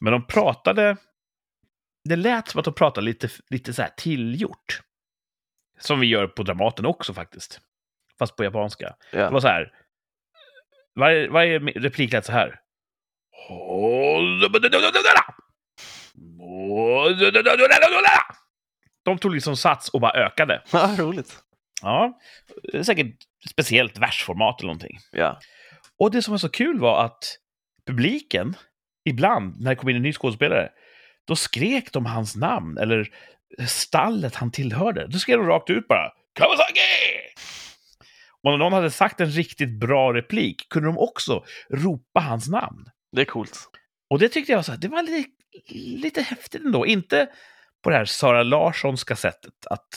Men de pratade... Det lät som att de pratade lite, lite så här tillgjort. Som vi gör på Dramaten också faktiskt. Fast på japanska. Ja. Det var så här. Varje, varje replik lät så här. De tog liksom sats och bara ökade. Ja, roligt. Ja, det är säkert speciellt versformat eller någonting. Ja. Och det som var så kul var att publiken, ibland när det kom in en ny skådespelare, då skrek de hans namn eller stallet han tillhörde. Då skrek de rakt ut bara Kawasaki! Och när någon hade sagt en riktigt bra replik kunde de också ropa hans namn. Det är coolt. Och det tyckte jag var så här, det var lite, lite häftigt ändå. Inte på det här Sara Larssonska sättet att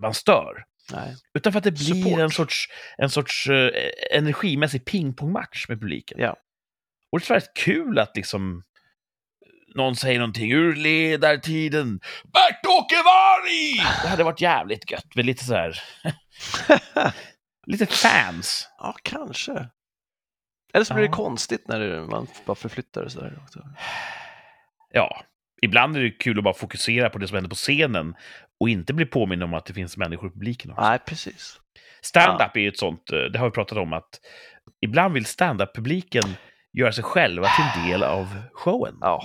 man stör. Nej. Utan för att det blir Support. en sorts, en sorts eh, energimässig pingpongmatch med publiken. Ja. Och det är rätt kul att liksom någon säger någonting ur ledartiden. Bert-Åke Varg! Det hade varit jävligt gött med lite så här, lite fans. ja, kanske. Eller så blir Ja. det konstigt när det, man bara förflyttar det sådär. också. Ja, ibland är det kul att bara fokusera på det som händer på scenen och inte bli påmind om att det finns människor i publiken. också. Nej, precis. Stand-up är ju ett sånt, eh, det har vi pratat om, att ibland vill stand-up-publiken göra sig själva till en del av showen. Ja.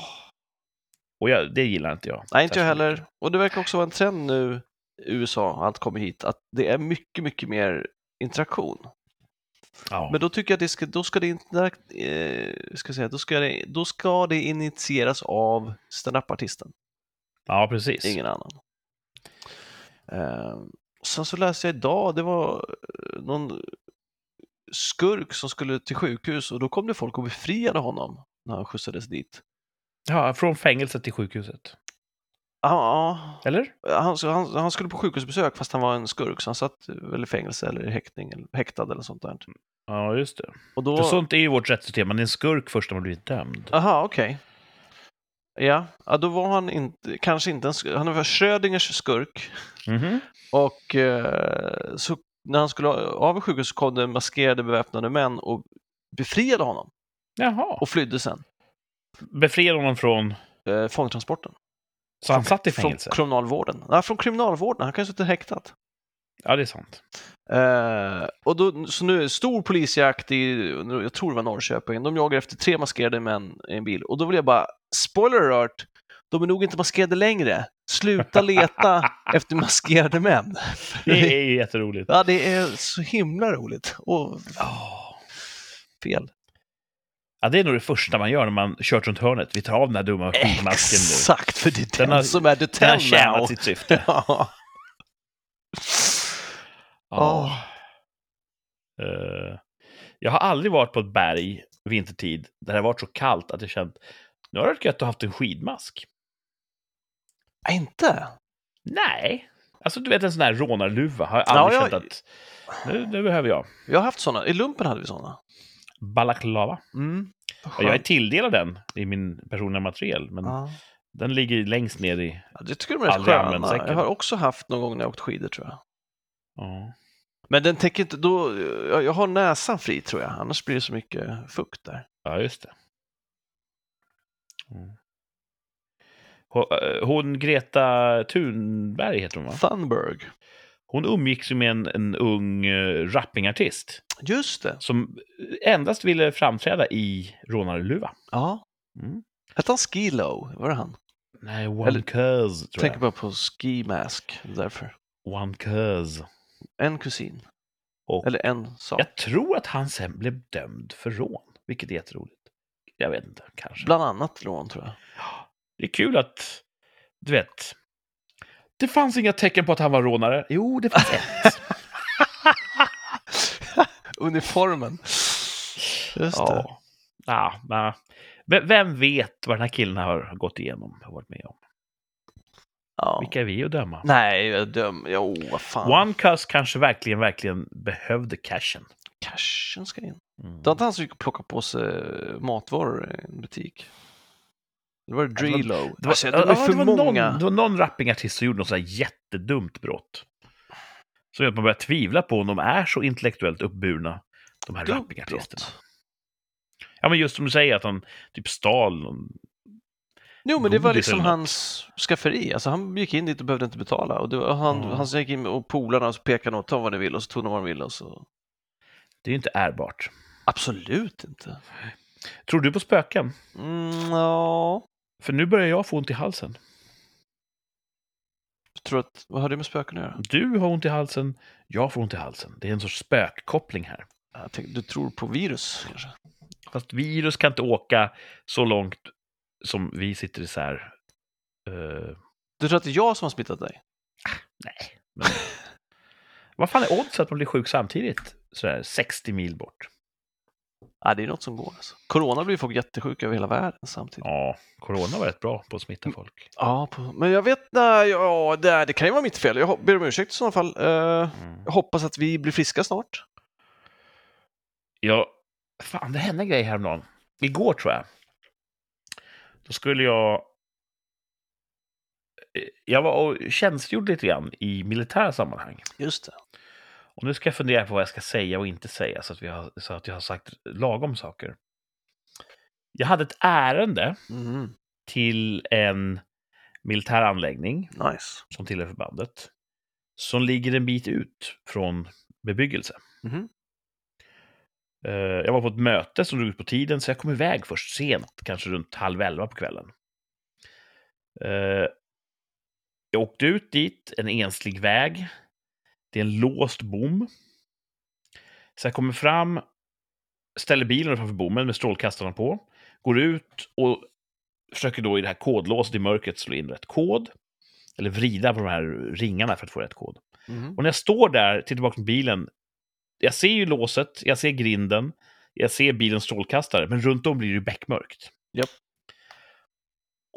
Och jag, det gillar inte jag. Nej, inte jag särskilt mycket. heller. Och det verkar också vara en trend nu i USA, och allt kommer hit, att det är mycket, mycket mer interaktion. Ja. Men då tycker jag att det ska, då ska det, interakt, eh, ska jag säga, då ska det, då ska det initieras av standup-artisten, ja, precis. ingen annan. Eh, och sen så läste jag idag, det var eh, någon skurk som skulle till sjukhus och då kom det folk och befriade honom när han skjutsades dit. Ja, från fängelset till sjukhuset. Ja, Eller? ja, han, han, han skulle på sjukhusbesök fast han var en skurk så han satt väl i fängelse eller i häktning eller häktad eller sånt där. Ja, just det. Och då... För sånt är ju vårt rättssystem. Man är en skurk först när man blivit dömd. Aha, okej. Ja, ja, då var han inte, kanske inte en skurk. Han var Schrödingers skurk. Mhm. Och eh, så när han skulle av i sjukhus så kom det maskerade beväpnade män och befriade honom Jaha. och flydde sen Befriade honom från... eh, fångtransporten. Så han satt i Från fängelse? kriminalvården. Nej, från kriminalvården. Han kan ju sitta häktad. Ja, det är sant. Eh, och då, så nu är det stor polisjakt i, jag tror det var Norrköping, de jagar efter tre maskerade män i en bil. Och då vill jag bara, spoiler alert, de är nog inte maskerade längre. Sluta leta efter maskerade män. Det är ju jätteroligt. ja, det är så himla roligt. Och Ja. fel. Ja, det är nog det första man gör när man kört runt hörnet. Vi tar av den här dumma skitmasken nu. Exakt, för det är den, Den har- som Den är har Detel tjänat now. sitt syfte. Ja. Ja. Eh, jag har aldrig varit på ett berg vintertid där det har varit så kallt att jag känt nu har det varit gött att ha haft en skidmask. Nej, inte? Nej. Alltså du vet en sån här rånarluva har jag Ja, aldrig jag- känt att nu, nu behöver jag. Vi har haft sådana. I lumpen hade vi sådana. Balaklava. Mm. Och jag är tilldelad den i min personliga materiel, men Ja. den ligger ju längst ner i... Ja, det tycker de är rätt Aldrig använt sköna. säkert. Jag har också haft någon gång när jag åkt skidor tror jag. Ja. Men den täcker inte, då, jag jag har näsan fri tror jag, annars blir det så mycket fukt där. Ja, just det. Mm. Ho- eh, Hon Greta Thunberg heter hon va? Thunberg. Hon umgicks ju med en, en ung eh, rappingartist Just det. som endast ville framträda i rånarluva. Ja. Mm. Hette han Skilo? Var det han? Nej, One Eller- Cuz tror Tänker jag. bara på Ski Mask, därför. One Cuz. En kusin, Och eller en sak. jag tror att han sen blev dömd för rån, vilket är jätteroligt. Jag vet inte, kanske. Bland annat lån tror jag. Det är kul att, du vet, det fanns inga tecken på att han var rånare. Jo, det fanns ett. Uniformen. Just det. ja. Ja, men- V- Vem vet vad den här killen har gått igenom och varit med om? Ja. Vilka är vi att döma? Nej, jag döm. Jo, vad fan. One Cuz kanske verkligen, verkligen behövde cashen. Cashen ska in. Mm. Det var inte han som gick och plockade på sig matvaror i en butik. Det var det var- Drelo. Alltså, Det var, Det var, ja, för det var många. Någon, det var någon rappingartist som gjorde något sådär jättedumt brott. Så att man börjar tvivla på om de är så intellektuellt uppburna, de här Dumt rappingartisterna. brott. Ja, men just som du säger, att han typ stal någon. Jo, men det var Godis liksom eller något. hans skafferi. Alltså, han gick in dit och behövde inte betala. Och det var, han, Ja. han gick in och polarna och så pekade och ta vad ni vill och så tog de vad de ville. Och så... Det är ju inte ärbart. Absolut inte. Tror du på spöken? Mm, ja. För nu börjar jag få ont i halsen. Tror du att, vad har det med spöken att göra? Du har ont i halsen, jag får ont i halsen. Det är en sorts spökkoppling här. Jag tänkte, du tror på virus kanske? Fast virus kan inte åka så långt som vi sitter isär. Uh, Du tror att det är jag som har smittat dig? nej. Men... Vad fan är oddset att man blir sjuk samtidigt? Sådär 60 mil bort. Ja, det är något som går alltså. Corona blir ju folk jättesjuka över hela världen samtidigt. Ja, corona var rätt bra på att smitta folk. Ja, på, men jag vet, nej, ja, det, det kan ju vara mitt fel. Jag hop- ber om ursäkt i sådana fall. Eh, Mm. jag hoppas att vi blir friska snart. Ja, fan det hände en grej häromdagen. Igår tror jag. Då skulle jag... eh, Jag var och tjänstgjorde lite grann i militära sammanhang. Just det. Och nu ska jag fundera på vad jag ska säga och inte säga så att, vi har, så att jag har sagt lagom saker. Jag hade ett ärende Mm, till en militär anläggning nice. som tillhör förbandet. Som ligger en bit ut från bebyggelse. Mhm. Eh, Jag var på ett möte som drog ut på tiden, så jag kom iväg först sent, kanske runt halv elva på kvällen. Eh, Jag åkte ut dit, en enslig väg. Det är en låst bom. Så jag kommer fram, ställer bilen framför bommen med strålkastarna på, går ut och försöker då i det här kodlåset i mörkret slå in rätt kod. Eller vrida på de här ringarna för att få rätt kod. Mhm. Och när jag står där, tittar bakom bilen, jag ser ju låset, jag ser grinden, jag ser bilens strålkastare, men runt om blir det ju beckmörkt. Japp.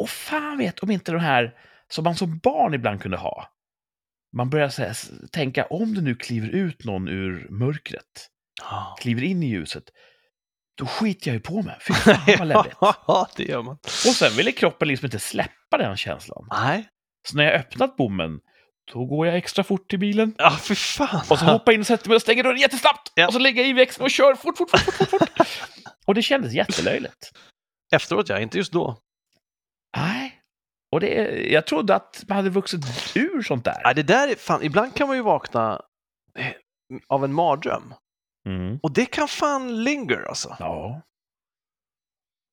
Och fan vet om inte de här som man som barn ibland kunde ha. Man börjar så här, s- tänka, om det nu kliver ut någon ur mörkret, Ja. kliver in i ljuset, då skiter jag ju på mig. Fy fan vad läbbigt. Ja, det gör man. Och sen ville kroppen liksom inte släppa den känslan. Nej. Så när jag öppnat bommen, då går jag extra fort till bilen. Ja, för fan. Och så hoppar jag in och sätter mig och stänger dörren jättesnabbt. Ja. Och så lägger jag i växeln och kör fort, fort, fort, fort, fort. fort. och det kändes jättelöjligt. Efteråt ja, inte just då. Nej. Och det, jag trodde att man hade vuxit ur sånt där. Ja, det där är, fan, ibland kan man ju vakna eh, av en mardröm. Mm. Och det kan fan linger alltså. Ja.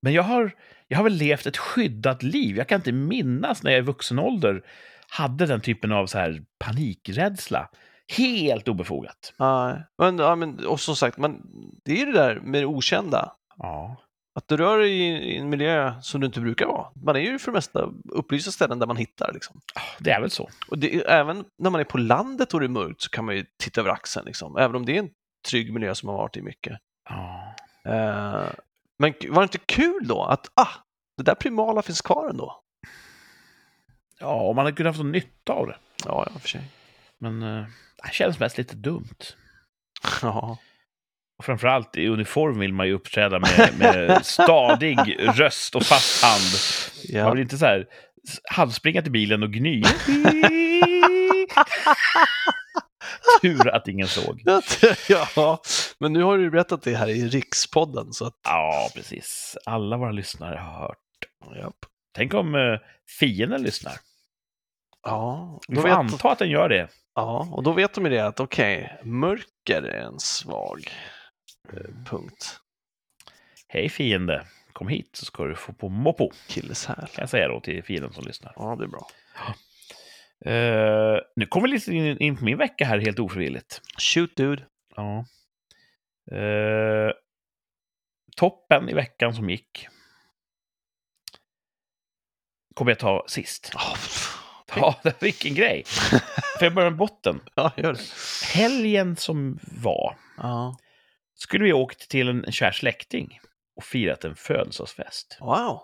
Men jag har, jag har väl levt ett skyddat liv. Jag kan inte minnas när jag i vuxen ålder hade den typen av så här panikrädsla. Helt obefogat. Nej. Men, ja, men, och som sagt, man, det är ju det där med det okända. Ja. Att du rör dig i, i en miljö som du inte brukar vara. Man är ju för det mesta upplysta ställen där man hittar. Liksom. Det är väl så. Och det, är- även när man är på landet och det är mörkt så kan man ju titta över axeln. Liksom. Även om det är en trygg miljö som man har varit i mycket. Ja. Eh, men k- var det inte kul då att ah, det där primala finns kvar ändå? Ja, och man hade kunnat få nytta av det. Ja, ja, för sig. Men eh, det känns mest lite dumt. Ja. Och framförallt i uniform vill man ju uppträda med, med stadig röst och fast hand. Ja. Man vill inte så här s- halvspringa till bilen och gny. Tur att ingen såg. ja, men nu har du ju berättat det här i Rikspodden så att... Ja, precis. Alla våra lyssnare har hört. Ja, Tänk om eh, fienden lyssnar. ja, Vi då får vet, anta att den gör det. ja och då vet de ju det att okej, mörker är en svag eh, punkt. Hej fiende, kom hit så ska du få på moppo, Akilleshäl. kan jag säga då till fienden som lyssnar. Ja, det är bra. Eh, nu kommer vi lite in, in på min vecka här helt ofrivilligt. Shoot dude. Ja. Eh, toppen i veckan som gick kommer jag ta sist. Ja, pff. Ja, vilken grej! För jag börjar med botten. ja, gör det. Helgen som var Ja. skulle vi ha åkt till en kär släkting och firat en födelsedagsfest. Wow.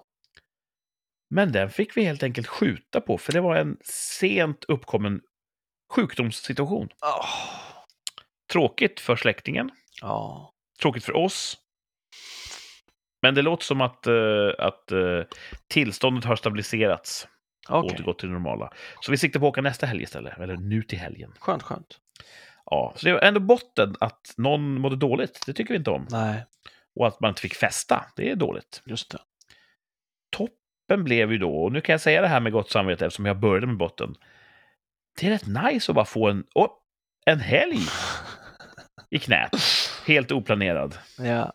Men den fick vi helt enkelt skjuta på, för det var en sent uppkommen sjukdomssituation. Oh. Tråkigt för släktingen, Ja. tråkigt för oss. Men det låter som att, eh, att eh, tillståndet har stabiliserats och Okej, återgått till det normala. Så vi siktar på att åka nästa helg istället, eller nu till helgen. skönt, skönt. Ja, så det var ändå botten att någon mådde dåligt, det tycker vi inte om. Nej, Och att man inte fick festa, det är dåligt. just det. Toppen blev ju då, och nu kan jag säga det här med gott samvete eftersom jag började med botten. Det är rätt nice att bara få en, oh, en helg i knät, helt oplanerad. Ja.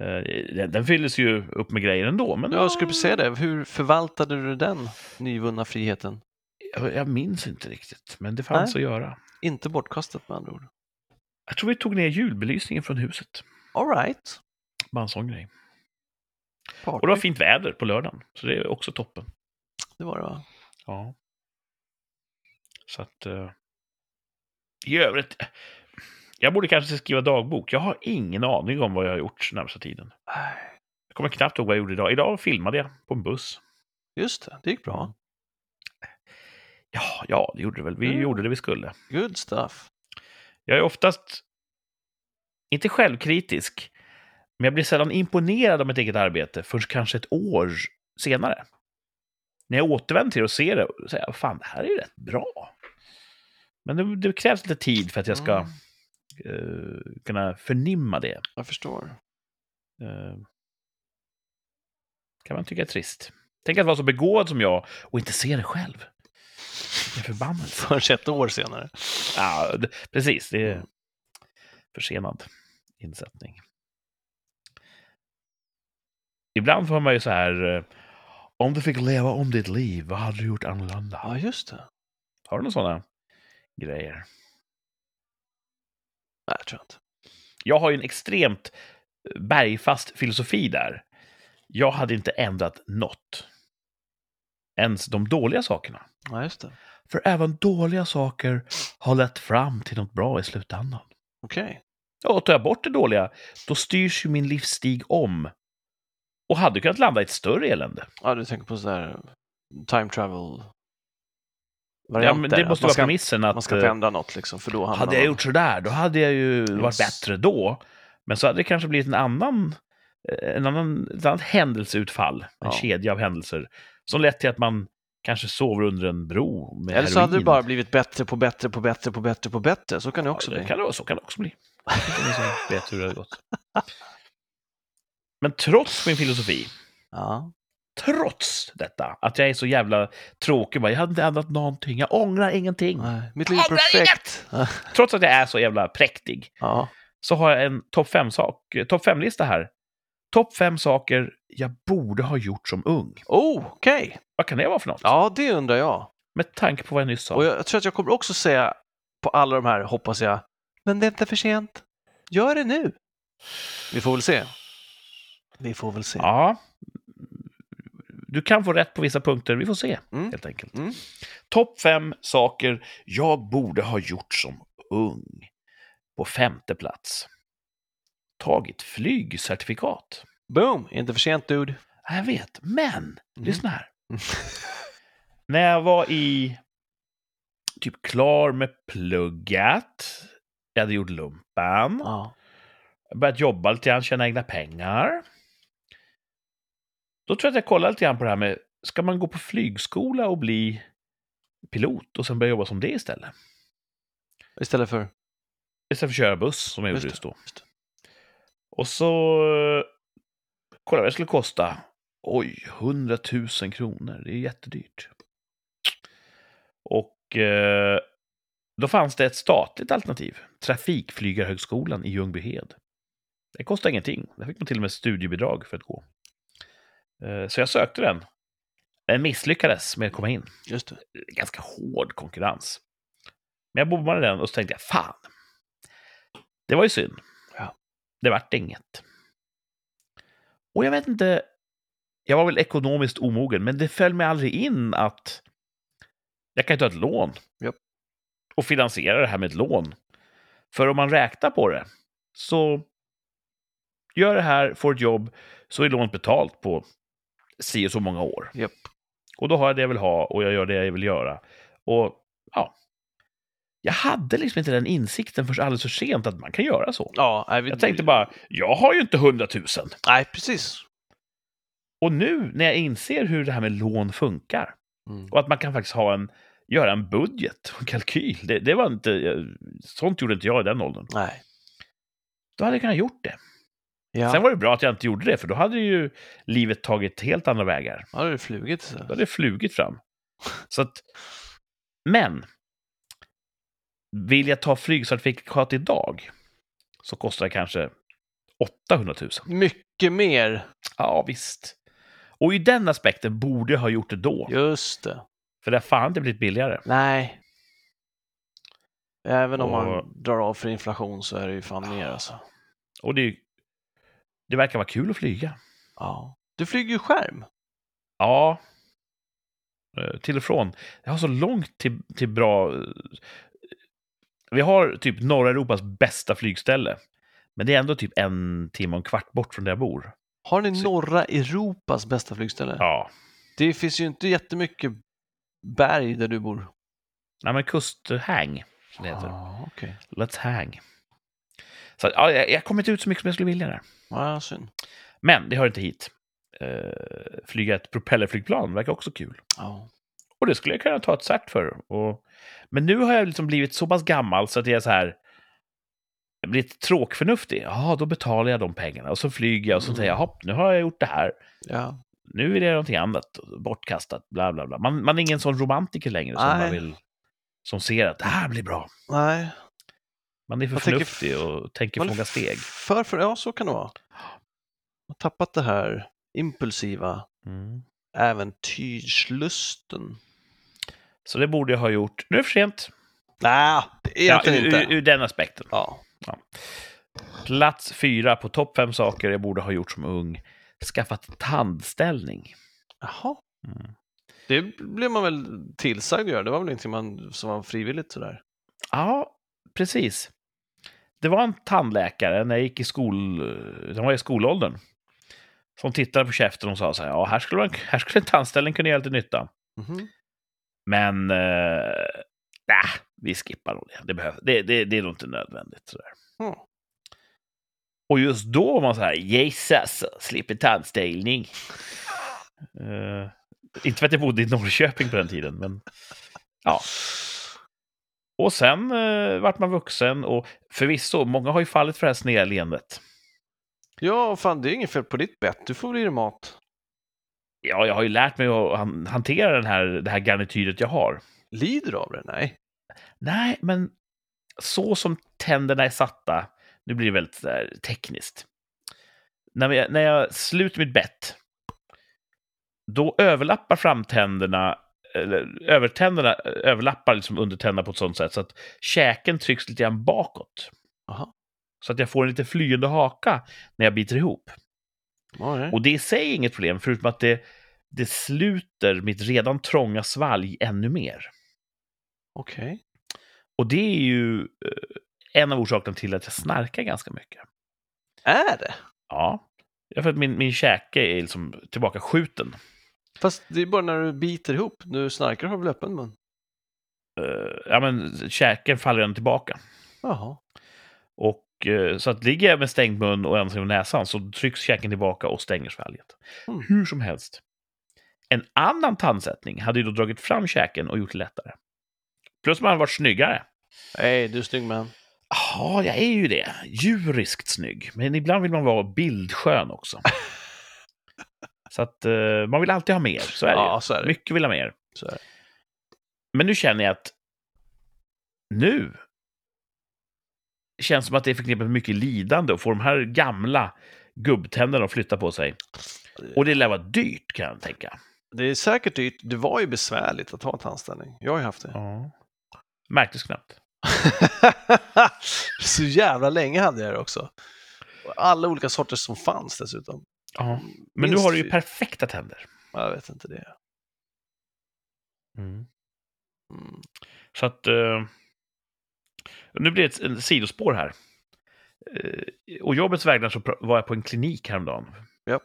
Eh, Den, den fylldes ju upp med grejer ändå. Men Jag skulle precis säga det, hur förvaltade du den nyvunna friheten? Jag, jag minns inte riktigt, men det fanns att göra. Inte bortkastat med andra ord. Jag tror vi tog ner julbelysningen från huset. All right. Bara en sån grej. Party. Och det var fint väder på lördagen, så det är också toppen. Det var det va? Ja. Så att... eh, I övrigt, jag borde kanske skriva dagbok. Jag har ingen aning om vad jag har gjort närmsta tiden. Nej, Jag kommer knappt ihåg vad jag gjorde idag. Idag filmade jag på en buss. Just det, det gick bra. Ja, ja, det gjorde det väl. Vi Mm. gjorde det vi skulle. Good stuff. Jag är oftast inte självkritisk, men jag blir sällan imponerad av mitt eget arbete först kanske ett år senare. När jag återvänder till det och ser det och säger jag, fan, det här är ju rätt bra. Men det, det krävs lite tid för att jag ska Mm, eh, kunna förnimma det. jag förstår. Eh, kan man tycka är trist. Tänk att vara så begåvad som jag och inte se det själv. Vilken förbannelse. Först ett år senare. Ja, d- precis. Det är försenad insättning. Ibland får man ju så här, eh, om du fick leva om ditt liv, vad hade du gjort annorlunda? Ja, just det. Har du några sådana grejer? Nej, jag tror inte. Jag har ju en extremt eh, bergfast filosofi där. Jag hade inte ändrat något. Ens de dåliga sakerna. Ja, just det. För även dåliga saker har lett fram till något bra i slutändan. Okej. Ja, och tar jag bort det dåliga, då styrs ju min livsstig om. Och hade kunnat landa i ett större elände. Ja, du tänker på sådär time travel Ja, men det att måste man vara ska, premissen att man ska inte ändra något liksom, för då eh, hamnar hade jag man- gjort sådär, då hade jag ju varit bättre då. Men så hade det kanske blivit en annan, eh, en annan, ett annat händelseutfall, en Ja. kedja av händelser, som lett till att man kanske sover under en bro med Eller så hade du heroin. bara blivit bättre på bättre på bättre på bättre på bättre. Så kan det också ja, det bli. Kan det, vara- så kan det också bli. Det är så jag vet hur det har gått. Men trots min filosofi, Ja. trots detta, att jag är så jävla tråkig. Bara, jag hade inte ändrat någonting, jag ångrar ingenting. Nej. Mitt liv är Ja, det är perfekt. Trots att jag är så jävla präktig Ja. så har jag en topp fem-lista top fem lista här. Topp fem saker jag borde ha gjort som ung. Oh, okej. Vad kan det vara för något? Ja, det undrar jag. Med tanke på vad jag nyss sa. Och jag tror att jag kommer också säga på alla de här, hoppas jag, men det är inte för sent. Gör det nu. Vi får väl se. Vi får väl se. Ja. Du kan få rätt på vissa punkter, vi får se Mm. helt enkelt. Mm. Topp fem saker jag borde ha gjort som ung. På femte plats. Tagit flygcertifikat. Boom! Inte för sent, dude. Ja, jag vet, men lyssna här. När jag var i typ klar med plugget, jag hade gjort lumpen, Ja. börjat jobba lite grann, tjäna egna pengar. Då tror jag att jag kollade lite grann på det här med, ska man gå på flygskola och bli pilot och sen börja jobba som det istället? Istället för... Istället för att köra buss som jag Just gjorde det, just då. just det. Och så eh, kollade jag vad det skulle kosta. Oj, 100 000 kronor. Det är jättedyrt. Och eh, då fanns det ett statligt alternativ. Trafikflygarhögskolan i Ljungbyhed. Det kostade ingenting. Där fick man till och med studiebidrag för att gå. Eh, så jag sökte den. Men misslyckades med att komma in Just det. ganska hård konkurrens. Men jag bommade den och så tänkte jag, fan. Det var ju synd. Ja. Det vart inget. Och jag vet inte, jag var väl ekonomiskt omogen, men det föll mig aldrig in att jag kan ju ta ett lån Japp. och finansiera det här med ett lån. För om man räknar på det så gör det här, får ett jobb, så är lånet betalt på si och så många år. Japp. Och då har jag det jag vill ha och jag gör det jag vill göra. Och ja, jag hade liksom inte den insikten förrän alldeles för sent att man kan göra så. Ja, nej, vi- Jag tänkte bara, jag har ju inte hundratusen. Nej, precis. Och nu när jag inser hur det här med lån funkar Mm. och att man kan faktiskt ha en, göra en budget och en kalkyl. Det, det var inte, jag- sånt gjorde inte jag i den åldern. Nej. Då hade jag kunnat gjort det. Ja, Sen var det bra att jag inte gjorde det, för då hade ju livet tagit helt andra vägar. ja det är flugit. Så. Då hade det flugit fram. Så att, men, vill jag ta flygcertifikat idag så kostar det kanske 800 000. Mycket mer. Ja, visst. Och i den aspekten borde jag ha gjort det då. Just det. För det har fan inte blivit billigare. Nej. Även om Och- man drar av för inflation så är det ju fan mer alltså. Och det, är ju- det verkar vara kul att flyga. Ja. Du flyger ju skärm. Ja. Eh, Till och från. Jag har så långt till, till bra... eh, Vi har typ norra Europas bästa flygställe. Men det är ändå typ en timme och en kvart bort från där jag bor. Har ni Så- norra Europas bästa flygställe? Ja. Det finns ju inte jättemycket berg där du bor. Nej, men kusthang. som Det heter. Ah, Okej. Let's hang. Så ja, jag, jag kommer inte ut så mycket som jag skulle vilja där. Ah, synd. Men det hör inte hit. Eh, flyga ett propellerflygplan verkar också kul. Ja. Och det skulle jag kunna ta ett cert för. Och, men nu har jag liksom blivit så pass gammal så att jag är så här... Jag blir lite tråkförnuftig. Ja, då betalar jag de pengarna och så flyger jag och så Mm. säger jag hopp, nu har jag gjort det här. ja. Nu vill jag göra någonting annat, bortkastat, bla bla bla. Man, man är ingen sån romantiker längre som, Nej. man vill, som ser att det här blir bra. Nej. Man är för Man tänker f- förnuftig och tänker Man är fråga steg. För, för, ja, så kan det vara. Man har tappat det här impulsiva Mm. äventyrslusten. Så det borde jag ha gjort. Nu är det för sent. Nej, det är egentligen ur, inte. Ur, ur den aspekten. Ja. Plats fyra på topp fem saker jag borde ha gjort som ung. Skaffat tandställning. Jaha. Mm. Det blev man väl tillsagd att göra. Det var väl ingenting man, som var frivilligt sådär. Ja, precis. Det var en tandläkare när jag gick i skol... Den var i skolåldern. Som tittade på käften och sa så här, ja, här skulle, man, här skulle en tandställning kunna göra lite nytta. Mhm. Men, eh, nej, vi skippar nog det. Det, behövs, det, det. det är nog inte nödvändigt. Sådär. Mm. Och just då var man så här, Jesus, slipper tandställning. Eh, inte för att jag bodde i Norrköping på den tiden, men... Ja. Och sen eh, vart man vuxen och förvisso, många har ju fallit för det här sneda leendet. Ja, fan det är inget fel på ditt bett. Du får väl i dig mat. Ja, jag har ju lärt mig att han- hantera den här, det här garnityret jag har. Lider du av det? Nej. Nej, men så som tänderna är satta, nu blir det väldigt så här, tekniskt. När jag, när jag sluter mitt bett, då överlappar framtänderna, eller övertänderna eh, överlappar liksom undertänderna på ett sånt sätt så att käken trycks lite grann bakåt. Aha. Så att jag får en lite flyende haka när jag biter ihop. Ja, nej. Och det i sig är inget problem, förutom att det, det sluter mitt redan trånga svalg ännu mer. Okej. Och det är ju eh, en av orsakerna till att jag snarkar ganska mycket. Är det? Ja, Ja, för att min, min käke är liksom tillbaka skjuten. Fast det är bara när du biter ihop. Du snarkar har väl öppen mun? Eh, ja, men käken faller redan tillbaka. Jaha. Och, eh, så att ligger jag med stängd mun och en med näsan så trycks käken tillbaka och stänger svalget. Mm. Hur som helst. En annan tandsättning hade ju då dragit fram käken och gjort det lättare. Plus man hade varit snyggare. Nej, du är snygg man. Ja, jag är ju det. Djuriskt snygg. Men ibland vill man vara bildskön också. Så att eh, man vill alltid ha mer. Så är det Ja, ju. så är det. Mycket vill ha mer. Så är det. Men nu känner jag att nu känns det som att det är förknippat med mycket lidande att få de här gamla gubbtänderna att flytta på sig. Och det lär vara dyrt kan jag tänka. Det är säkert dyrt. Det var ju besvärligt att ha tandställning. Jag har ju haft det. Ja. Märktes knappt. Så jävla länge hade jag det också. Och Alla olika sorter som fanns dessutom. Ja. Men nu Minst har du ju fy- perfekta tänder. Jag vet inte det. Mm. Så att... Eh, nu blir det ett en sidospår här. Eh, och jobbets vägnar så pra- var jag på en klinik häromdagen. Ja.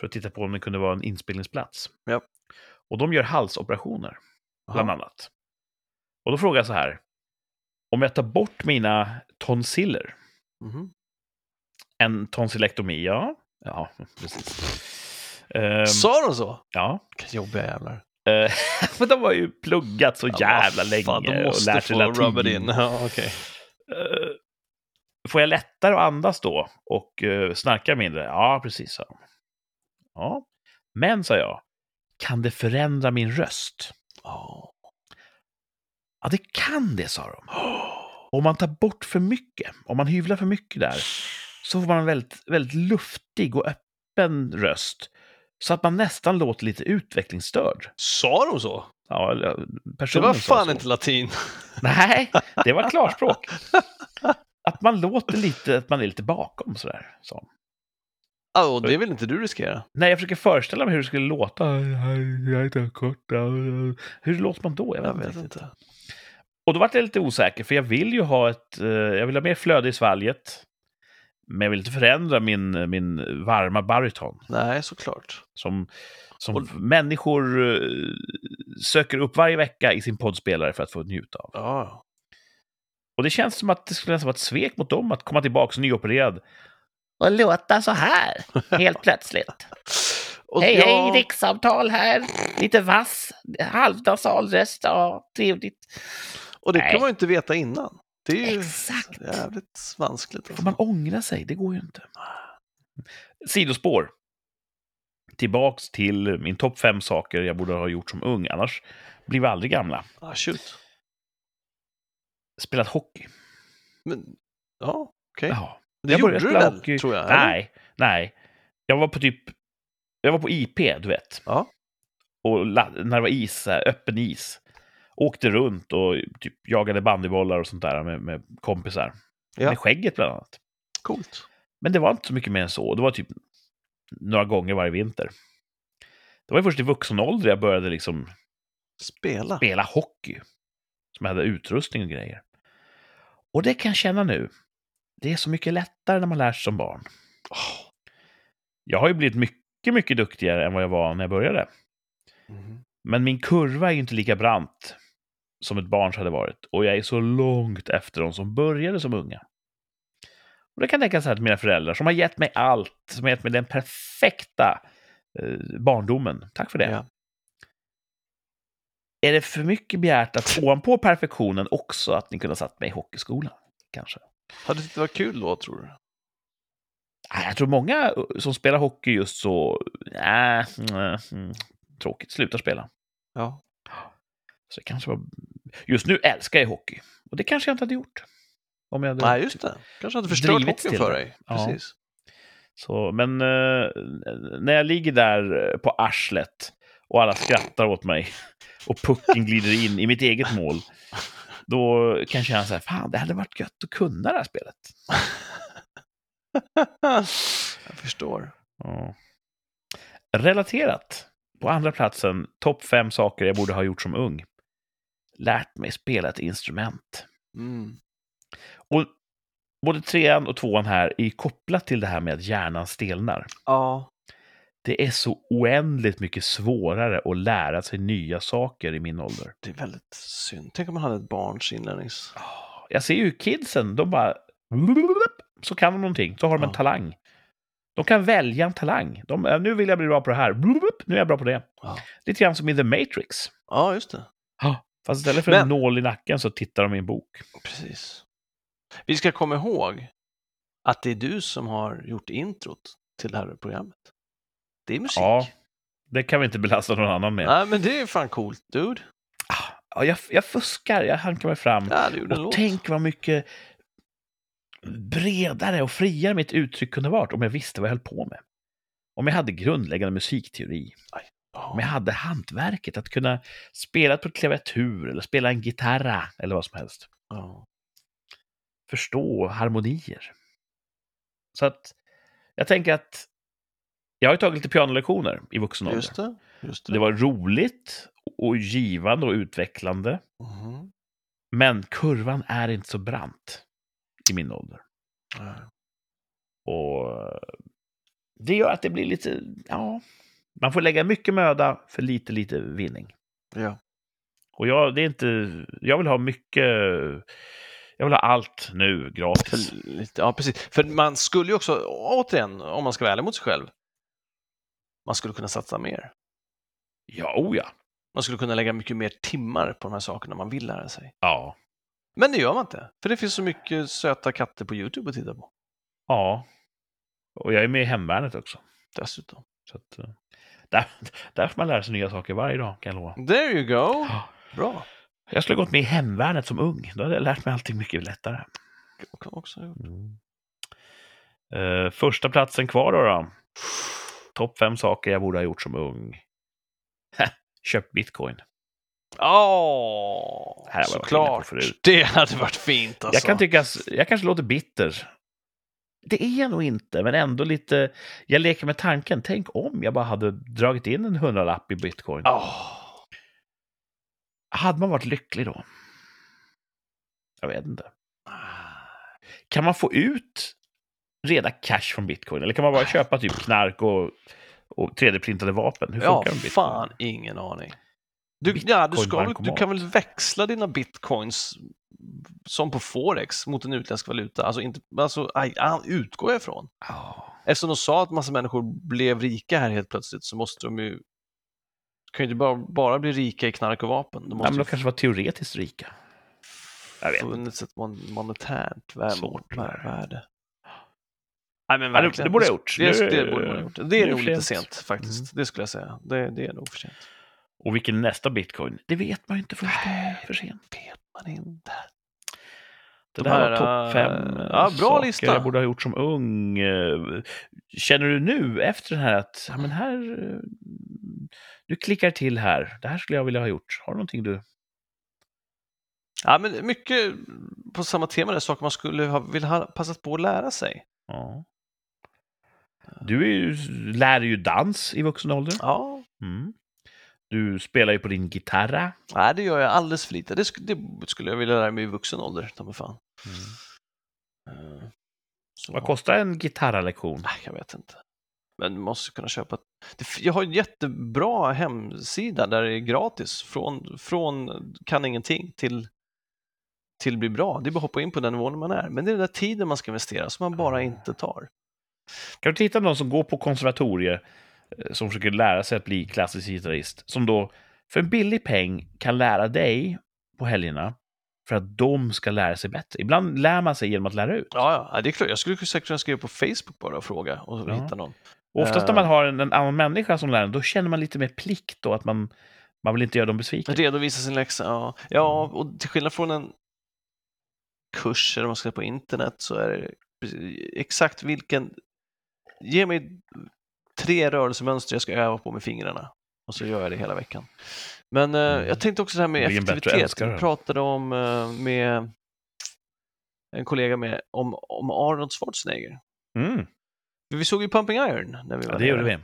För att titta på om det kunde vara en inspelningsplats. Ja. Och de gör halsoperationer, bland Jaha. annat. Och då frågar jag så här. Om jag tar bort mina tonsiller, Mhm. en tonsilektomi, ja. Ja, precis. Ehm, Sa de så? ja. Vilka jobbiga jävlar. Eh, för de har ju pluggat så Ja, jävla vad länge fan, de måste och lärt sig få latin. rubba det in. Ja, okej. Eh, får jag lättare att andas då och eh, snarkar mindre? Ja, precis, sa de. Ja. Men, sa jag, kan det förändra min röst? Ja. Ja, det kan det, sa de. Om man tar bort för mycket, om man hyvlar för mycket där, så får man en väldigt, väldigt luftig och öppen röst Så att man nästan låter lite utvecklingsstörd. Sa de så? Ja, eller, Det personen var sa fan så. inte latin. Nej, det var klarspråk. Att man låter lite, att man är lite bakom sådär. Så. Ja, och det vill inte du riskera. Nej, jag försöker föreställa mig hur det skulle låta. Jag heter Kurt. Hur låter man då? Jag vet, Jag inte vet riktigt. inte. Och då vart jag lite osäker, för jag vill ju ha ett... eh, jag vill ha mer flöde i svalget. Men jag vill inte förändra min, min varma baryton. Nej, såklart. Som, som Och- människor eh, söker upp varje vecka i sin poddspelare för att få njuta av. Ja, ja. Och det känns som att det skulle nästan vara ett svek mot dem att komma tillbaka som nyopererad. Och låta så här, helt plötsligt. Och Hej, ja, hej, rikssamtal här. Lite vass, halvdasal röst. Ja, trevligt. Och det Nej. kan man ju inte veta innan. Det är ju Exakt. jävligt vanskligt. Får Alltså. man ångra sig? Det går ju inte. Sidospår. Tillbaks till min topp fem saker jag borde ha gjort som ung, annars blir vi aldrig gamla. Ah, shoot. Spelat hockey. Men, ja, okej. Ja. Det jag gjorde började du spela väl, hockey. tror jag? eller? Nej, nej. Jag var på typ... Jag var på IP, du vet. Ja. Och la, när det var is, så här, öppen is. Åkte runt och typ jagade bandybollar och sånt där med, med kompisar. Ja. Med skägget bland annat. Coolt. Men det var inte så mycket mer än så. Det var typ några gånger varje vinter. Det var ju först i vuxen ålder jag började liksom Spela. spela hockey. Som jag hade utrustning och grejer. Och det kan jag känna nu. Det är så mycket lättare när man lär sig som barn. Åh. Jag har ju blivit mycket, mycket duktigare än vad jag var när jag började. Mhm. Men min kurva är ju inte lika brant som ett barns hade varit. Och jag är så långt efter de som började som unga. Och det kan tänkas så här till mina föräldrar som har gett mig allt, som har gett mig den perfekta eh, barndomen. Tack för det. Ja. Är det för mycket begärt att ovanpå perfektionen också att ni kunde ha satt mig i hockeyskolan? Kanske. Hade det inte varit kul då, tror du? Nej, Ah, Jag tror många eh, som spelar hockey just så... Äh, mm, tråkigt, slutar spela. Ja. Så det kanske var... Just nu älskar jag hockey. Och det kanske jag inte hade gjort. Om jag hade... Nej, just det. Kanske hade förstört typ Drivits hockeyn till för det. dig. Ja. Precis. Så, men eh, när jag ligger där eh, på arslet och alla skrattar åt mig och pucken glider in i mitt eget mål. Då kan jag känna så här, fan det hade varit gött att kunna det här spelet. Jag förstår. Ja. Relaterat, på andra platsen, topp fem saker jag borde ha gjort som ung. Lärt mig spela ett instrument. Mm. Och både trean och tvåan här är ju kopplat till det här med att hjärnan stelnar. Ja. Det är så oändligt mycket svårare att lära sig nya saker i min ålder. Det är väldigt synd. Tänk om man hade ett barns inlärnings... Jag ser ju kidsen, de bara... Så kan de någonting, så har de en Ja. talang. De kan välja en talang. De, "Äh, nu vill jag bli bra på det här, nu är jag bra på det. Ja. Lite grann som i The Matrix. Ja, just det. Fast istället för en Men- nål i nacken så tittar de i en bok. Precis. Vi ska komma ihåg att det är du som har gjort introt till det här programmet. Det är musik. Ja, det kan vi inte belasta någon annan med. Ah, Nej, men det är fan coolt, dude. Ja, jag, jag fuskar, jag hankar mig fram. Ja, du gjorde en Och låt. tänk vad mycket bredare och friare mitt uttryck kunde varit om jag visste vad jag höll på med. Om jag hade grundläggande musikteori, Ja. om jag hade hantverket att kunna spela på ett klaviatur eller spela en gitarra eller vad som helst. Ja. Förstå harmonier. Så att jag tänker att jag har ju tagit lite pianolektioner i vuxen ålder. Just det. Just det. Det var roligt och givande och utvecklande. Mhm. Men kurvan är inte så brant i min ålder. Ja. Och eh, det gör att det blir lite, ja, man får lägga mycket möda för lite, lite vinning. Ja. Och jag, det är inte, jag vill ha mycket, jag vill ha allt nu gratis. För lite, ja, precis. För man skulle ju också, återigen, om man ska vara ärlig mot sig själv, man skulle kunna satsa mer. Ja, oh ja. Man skulle kunna lägga mycket mer timmar på de här sakerna man vill lära sig. Ja, Men det gör man inte, för det finns så mycket söta katter på YouTube att titta på ja. Och jag är med i Hemvärnet också. dessutom. Så att, eh, där, där får man lära sig nya saker varje dag, kan jag lova. There you go! Ja. Bra. Jag skulle ha gått med i Hemvärnet som ung. Då hade jag lärt mig allting mycket lättare. Jag kan också- Mm. Eh, första platsen kvar då, då. Topp fem saker jag borde ha gjort som ung. Köpt bitcoin. Ja, Det här har jag varit inne på såklart. förut. Det hade varit fint alltså. Jag kan tycka, jag kanske låter bitter. Det är jag nog inte, men ändå lite. Jag leker med tanken. Tänk om jag bara hade dragit in en hundralapp i bitcoin. Ja. Hade man varit lycklig då? Jag vet inte. Kan man få ut reda cash från bitcoin? Eller kan Ah. man bara köpa typ knark och, och 3D-printade vapen? Hur funkar Ja, det med bitcoin? fan ingen aning. Du, ja, du, ska, väl- du Bitcoin-bankomat. kan väl växla dina bitcoins som på forex mot en utländsk valuta? Alltså, inte, alltså aj, aj, utgår jag ifrån. Ja. Eftersom de sa att massa människor blev rika här helt plötsligt så måste de ju kan ju inte bara, bara bli rika i knark och vapen. Nej, De men måste de ju kanske var teoretiskt rika. Jag vet inte. funnits ett mon- monetärt vär- Svårt. vär- värde. Nej, men Ja, det- verkligen. det borde jag ha gjort. Det, Nu- det, borde man ha gjort. Det nu är är det nog lite för sent Mm. sent. faktiskt. Det skulle jag säga. Det, det är nog för sent. Och vilken är nästa bitcoin? Det vet man ju inte förrän det är för sent. vet man inte. Det De där var här, topp fem äh, eh, ja, bra saker lista. jag borde ha gjort som ung. Eh, Känner du nu efter den här att ja, men här, eh, du klickar till här. Det här skulle jag vilja ha gjort. Har du någonting du... Ja, men mycket på samma tema, där, saker man skulle ha, vill ha passat på att lära sig. Ja. Du är ju, lär ju dans i vuxen ålder. Ja, Mm. Du spelar ju på din gitarra. nej, det gör jag alldeles för lite. Det, sk- det skulle jag vilja lära mig i vuxen ålder, ta mig fan. Mm. Eh, Så, Vad kostar en gitarrlektion? Nej, jag vet inte. Men du måste kunna köpa. ett- Det f- Jag har en jättebra hemsida där det är gratis. Från, från kan ingenting till, till bli bra. Det är bara att hoppa in på den nivån man är. Men det är den där tiden man ska investera som man bara inte tar. Kan du hitta någon som går på konservatorier eh, som försöker lära sig att bli klassisk gitarrist som då för en billig peng kan lära dig på helgerna för att de ska lära sig bättre. Ibland lär man sig genom att lära ut. Ja, ja, ja, det är klart. Jag skulle säkert kunna skriva på Facebook bara och fråga och Ja. hitta någon. Och oftast när man har en, en annan människa som lär en, då känner man lite mer plikt då att man, man vill inte göra dem besvikna. Redovisa sin läxa, ja. Mm. Ja, och till skillnad från en kurs eller vad man ska säga på internet så är det precis- exakt vilken... Ge mig tre rörelsemönster jag ska öva på med fingrarna och så gör jag det hela veckan. Men eh, Mm. jag tänkte också det här med Bli en bättre effektivitet. älskare. Vi pratade om eh, med en kollega med om, om Arnold Schwarzenegger. Mm, Vi såg ju Pumping Iron när vi var ja, det där. gjorde vi.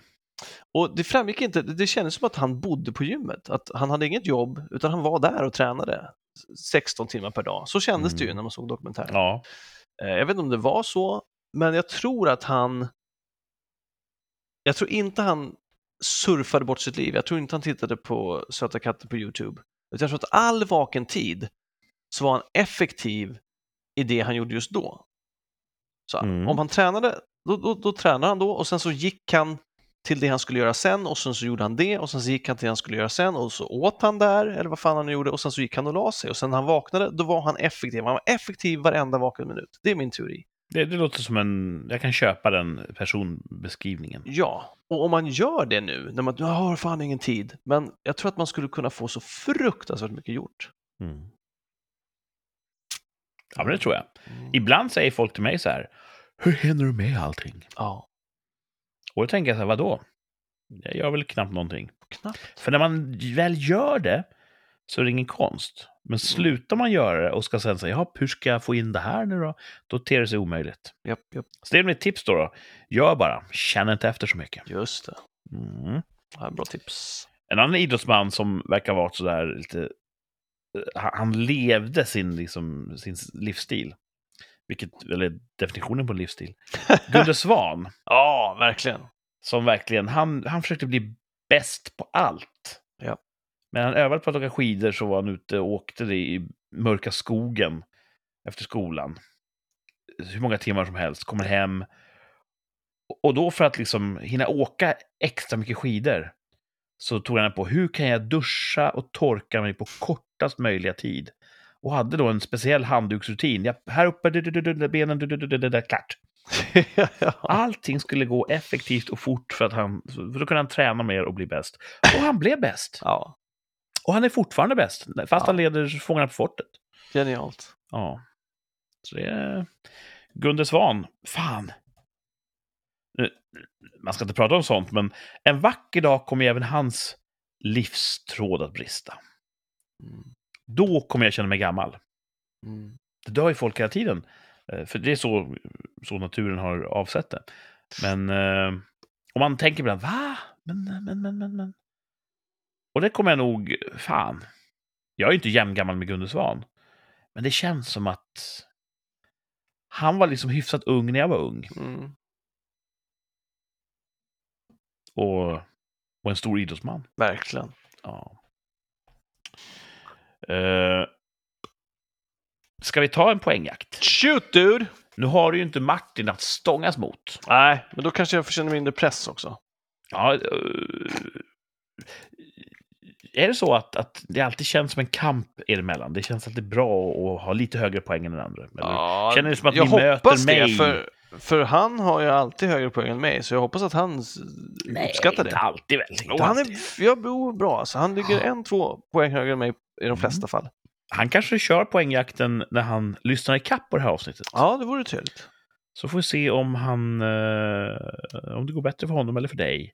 Och det framgick inte, det det kändes som att han bodde på gymmet, att han hade inget jobb utan han var där och tränade 16 timmar per dag. Så kändes det ju Mm. när man såg dokumentären. Ja. Eh, Jag vet inte om det var så, men jag tror att han... Jag tror inte han surfade bort sitt liv, jag tror inte han tittade på Söta katten på YouTube. Utan jag tror att all vaken tid så var han effektiv i det han gjorde just då. Så Mm. om han tränade, då, då, då tränade han då och sen så gick han till det han skulle göra sen och sen så gjorde han det och sen så gick han till det han skulle göra sen och så åt han där eller vad fan han nu gjorde och sen så gick han och la sig och sen när han vaknade då var han effektiv. Han var effektiv varenda vaken minut. Det är min teori. Det, det låter som en... Jag kan köpa den personbeskrivningen. Ja, och om man gör det nu när man jag har fan ingen tid, men jag tror att man skulle kunna få så fruktansvärt mycket gjort. Mm. Ja, men det tror jag. Ibland säger folk till mig så här, hur hinner du med allting? Ja, Och då tänker jag så här, vadå? Jag gör väl knappt någonting. knappt. För när man väl gör det så är det ingen konst. Men slutar man göra det och ska sen säga, ja, hur ska jag få in det här nu då? Då ter det sig omöjligt. Japp, japp. Så det är mitt tips då. då. Gör bara, känn inte efter så mycket. Just det. Mm. Ja, bra tips. En annan idrottsman som verkar vara sådär lite... eh, han- Han levde sin, liksom, sin livsstil. Vilket, eller definitionen på livsstil. Gunde Svan, Ja, verkligen. som verkligen, han, han försökte bli bäst på allt. Ja. Men han övade på att åka skidor så var han ute och åkte det i mörka skogen efter skolan. Hur många timmar som helst, kommer hem. Och då för att liksom hinna åka extra mycket skidor så tog han på hur kan jag duscha och torka mig på kortast möjliga tid. Och hade då en speciell handduksrutin. Ja, här uppe, du, du, du, du, benen, du, du, du, du, du, klart. ja. Allting skulle gå effektivt och fort för att han, för då kunde han träna mer och bli bäst. Och han blev bäst. ja, Och han är fortfarande bäst, fast Ja. han leder Fångarna på fortet. genialt. Ja. Så det är Gunde Svan. Fan. nu- man ska inte prata om sånt, men en vacker dag kommer ju även hans livstråd att brista. Mm. Då kommer jag känna mig gammal. Mm. Det dör ju folk hela tiden. Eh, För det är så, så naturen har avsett det. Men eh, om man tänker ibland, va? Men, men, men, men, men. Och det kommer jag nog, fan. Jag är ju inte jämngammal med Gunde Svan. Men det känns som att han var liksom hyfsat ung när jag var ung. Mm. Och, och en stor idrottsman. Verkligen. Ja. Eh, ska vi ta en poängjakt? Shoot dude! Nu har du ju inte Martin att stångas mot. Nej, men då kanske jag får känna mindre press också. Ja, eh, är det så att, att det alltid känns som en kamp er emellan? Det känns alltid bra att ha lite högre poäng än den andra? Eller? Ja, Känner det som att jag ni hoppas möter det, mig? För, för han har ju alltid högre poäng än mig, så jag hoppas att han s- Nej, uppskattar inte det. alltid väl. Inte Och han alltid. är ja, jo, bra, alltså. Han ligger Ja. en, två poäng högre än mig i de flesta fall. han kanske kör poängjakten när han lyssnar i kapp på det här avsnittet. Ja, det vore trevligt. Så får vi se om, han, eh, om det går bättre för honom eller för dig.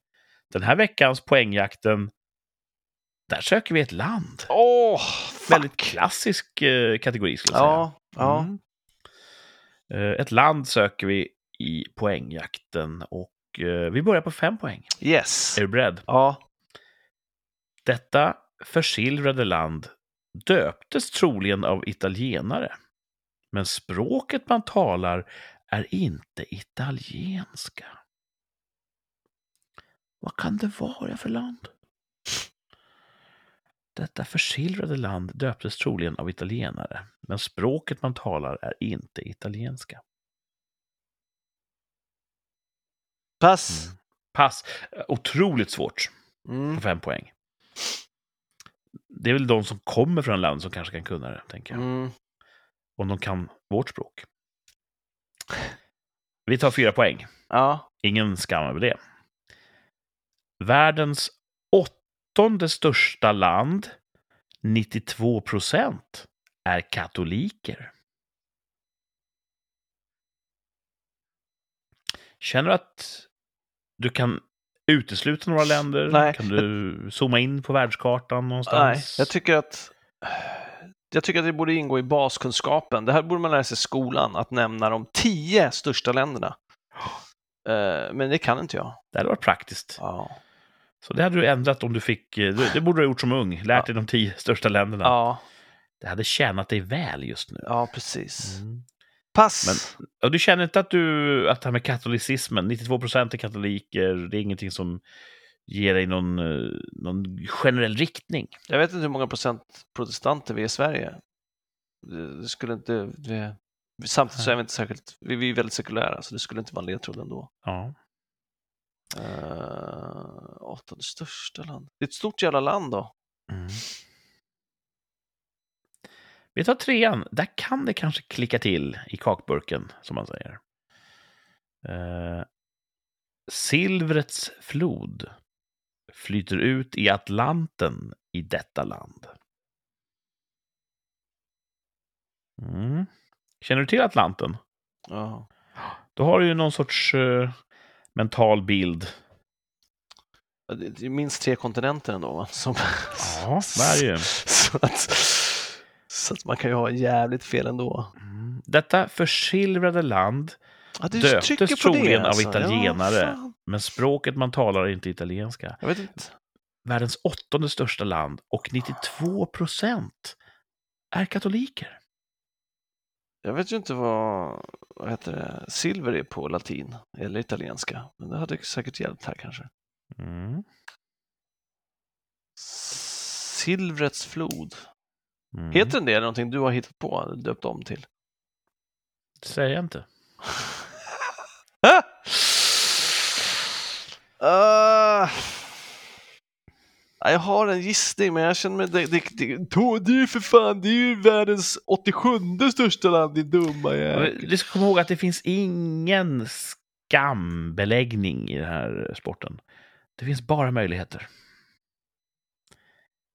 Den här veckans poängjakten, där söker vi ett land. Åh, Väldigt klassisk eh, kategori skulle jag säga. Ja, ja. Mm. Eh, Ett land söker vi i poängjakten och eh, vi börjar på fem poäng. yes. Är du beredd? Ja, Detta försilvrade land döptes troligen av italienare. Men språket man talar är inte italienska. Vad kan det vara för land? Detta försilvrade land döptes troligen av italienare, men språket man talar är inte italienska. pass. Pass. Otroligt svårt Mm. på fem poäng. Det är väl de som kommer från land som kanske kan kunna det, tänker jag. Mm. Om de kan vårt språk. Vi tar fyra poäng. Ja, Ingen skam över det. Världens åttonde största land, 92 procent, är katoliker. Känner du att du kan utesluta några länder? Nej. Kan du zooma in på världskartan nej. någonstans? Jag tycker att... Jag tycker att det borde ingå i baskunskapen. Det här borde man lära sig i skolan, att nämna de tio största länderna. Eh, Men det kan inte jag. Det hade varit praktiskt. Ja. Så det hade du ändrat om du fick... eh, Det, det borde du ha gjort som ung. Lärt dig de tio största länderna. Ja, Det hade tjänat dig väl just nu. ja precis. Mm. Pass. Men- Och du känner inte att, du, att det här med katolicismen, 92 procent är katoliker, det är ingenting som ger dig någon, eh, någon generell riktning? Jag vet inte hur många procent protestanter vi är i Sverige. Det det skulle inte... Det... Samtidigt så är vi inte särskilt... Vi vi är väldigt sekulära, så det skulle inte vara en ledtråd ändå. Ja. Uh, åttonde största land. Det är ett stort jävla land då. Vi tar trean, där kan det kanske klicka till i kakburken, som man säger. Eh, silvrets flod flyter ut i Atlanten i detta land. Mm. Känner du till Atlanten? Ja. Då har du ju någon sorts eh, mental bild. Det det är minst tre kontinenter ändå va? Som... Ja, det är det ju. Så att... Så att man kan ju ha jävligt fel ändå. Detta försilvrade land, Ja, du Döptes trycker på det, troligen av alltså. italienare. Ja, fan. men språket man talar är inte italienska. jag vet inte. Världens åttonde största land och 92 procent är katoliker. Jag vet ju inte vad, vad heter det, silver är på latin eller italienska, men det hade säkert hjälpt här kanske. Mm. Silvrets flod. Mm. Heter den det eller någonting du har hittat på, eller döpt om till? Det säger jag inte. Ah! Ah. Ja, Jag har en gissning, men jag känner mig... Det, det, det, Då- det är ju för fan, det är ju världens 87 största land, din dumma jävel. Du ska komma ihåg att det finns ingen skambeläggning i den här sporten. Det finns bara möjligheter.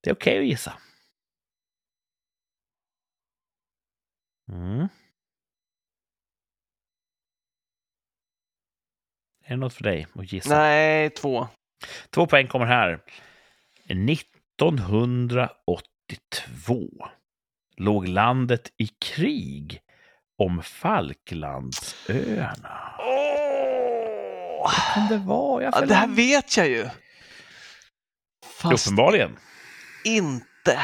Det är okej att gissa. Mm. Är det något för dig att gissa? Nej, två. Två poäng kommer här. 1982 låg landet i krig om Falklandsöarna. Åh! Kan det vara? Jag Ja, det här vet jag ju. Fast Uppenbarligen. inte.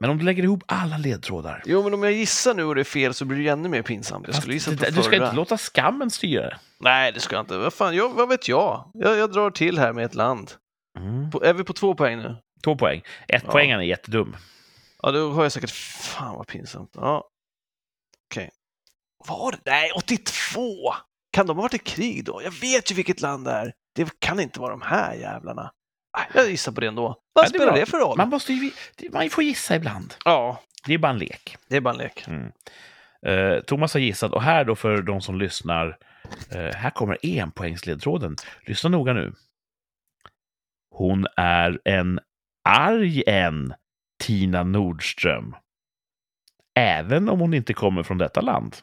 Men om du lägger ihop alla ledtrådar. Jo, men om jag gissar nu och det är fel så blir det ju ännu mer pinsamt. Jag skulle Fast gissa på det- förra. du ska inte låta skammen styra. Nej, det ska jag inte. Vad, fan, jag, vad vet jag? jag? Jag drar till här med ett land. Mm. På, är vi på två poäng nu? Två poäng. Ett Ja. poängen är jättedum. Ja, då har jag säkert... Fan vad pinsamt. Ja. Okej. Var det? Nej, 82! Kan de ha varit i krig då? Jag vet ju vilket land det är. Det kan inte vara de här jävlarna. Ah, Jag gissar på det ändå. Vad Ja, det är spelar bra. det för roll? Man, måste ju, man får gissa ibland. Ja, Det är bara en lek. det är bara en lek. Eh, Thomas har gissat och här då för de som lyssnar. eh, här kommer enpoängsledtråden. Lyssna noga nu. Hon är en arg en, Tina Nordström. Även om hon inte kommer från detta land.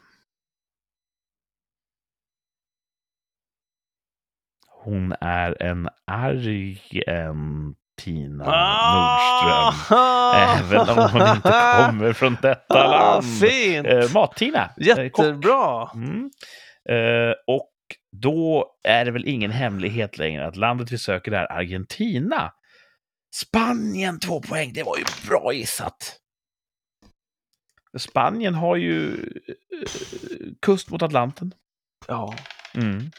Hon är en arg en, Tina Ah! Nordström. Även om hon inte kommer från detta Ah, land. fint! Eh, Mat-Tina. eh, kock. Jättebra! Mm. Eh, och då är det väl ingen hemlighet längre att landet vi söker är Argentina. Spanien, två poäng. Det var ju bra gissat. Spanien har ju eh, kust mot Atlanten. Ja. Mm.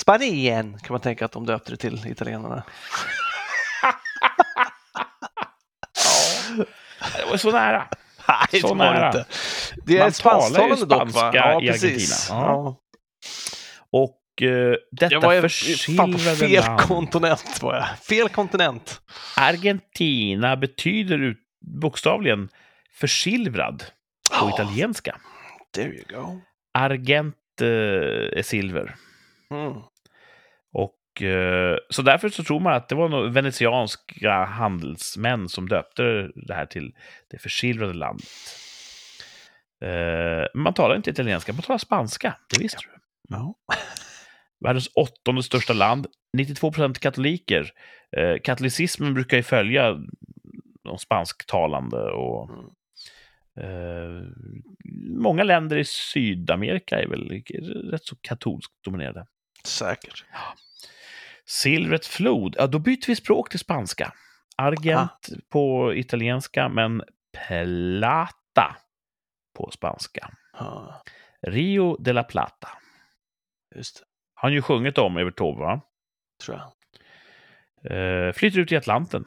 Spanien kan man tänka att de döpte det till, italienarna. Det var så nära. Nej, Så det var nära. det inte. Det är Man ett spansktalande talar ju dock, va? spanska Ja, i precis. Argentina. Ja. Och eh, detta Jag var ju fan på försilvrade fel land. kontinent var jag. Fel kontinent. Argentina betyder ut, bokstavligen försilvrad på Ja, italienska. there you go. Argent eh, är silver. Mm. Och, eh, så därför så tror man att det var nog venetianska handelsmän som döpte det här till det försilvrade landet. Eh, Men man talar inte italienska, man talar spanska. Det visste du. Ja. Världens åttonde största land, 92 procent katoliker. Eh, Katolicismen brukar ju följa de spansktalande och Mm. eh, många länder i Sydamerika är väl rätt så katolskt dominerade. Säkert. Silvret flod, ja då byter vi språk till spanska. Argent på italienska, men plata på spanska. Ja, Rio de la Plata. just det, Han ju sjungit om Evert Taube, va? tror jag. Eh, flyter ut i Atlanten.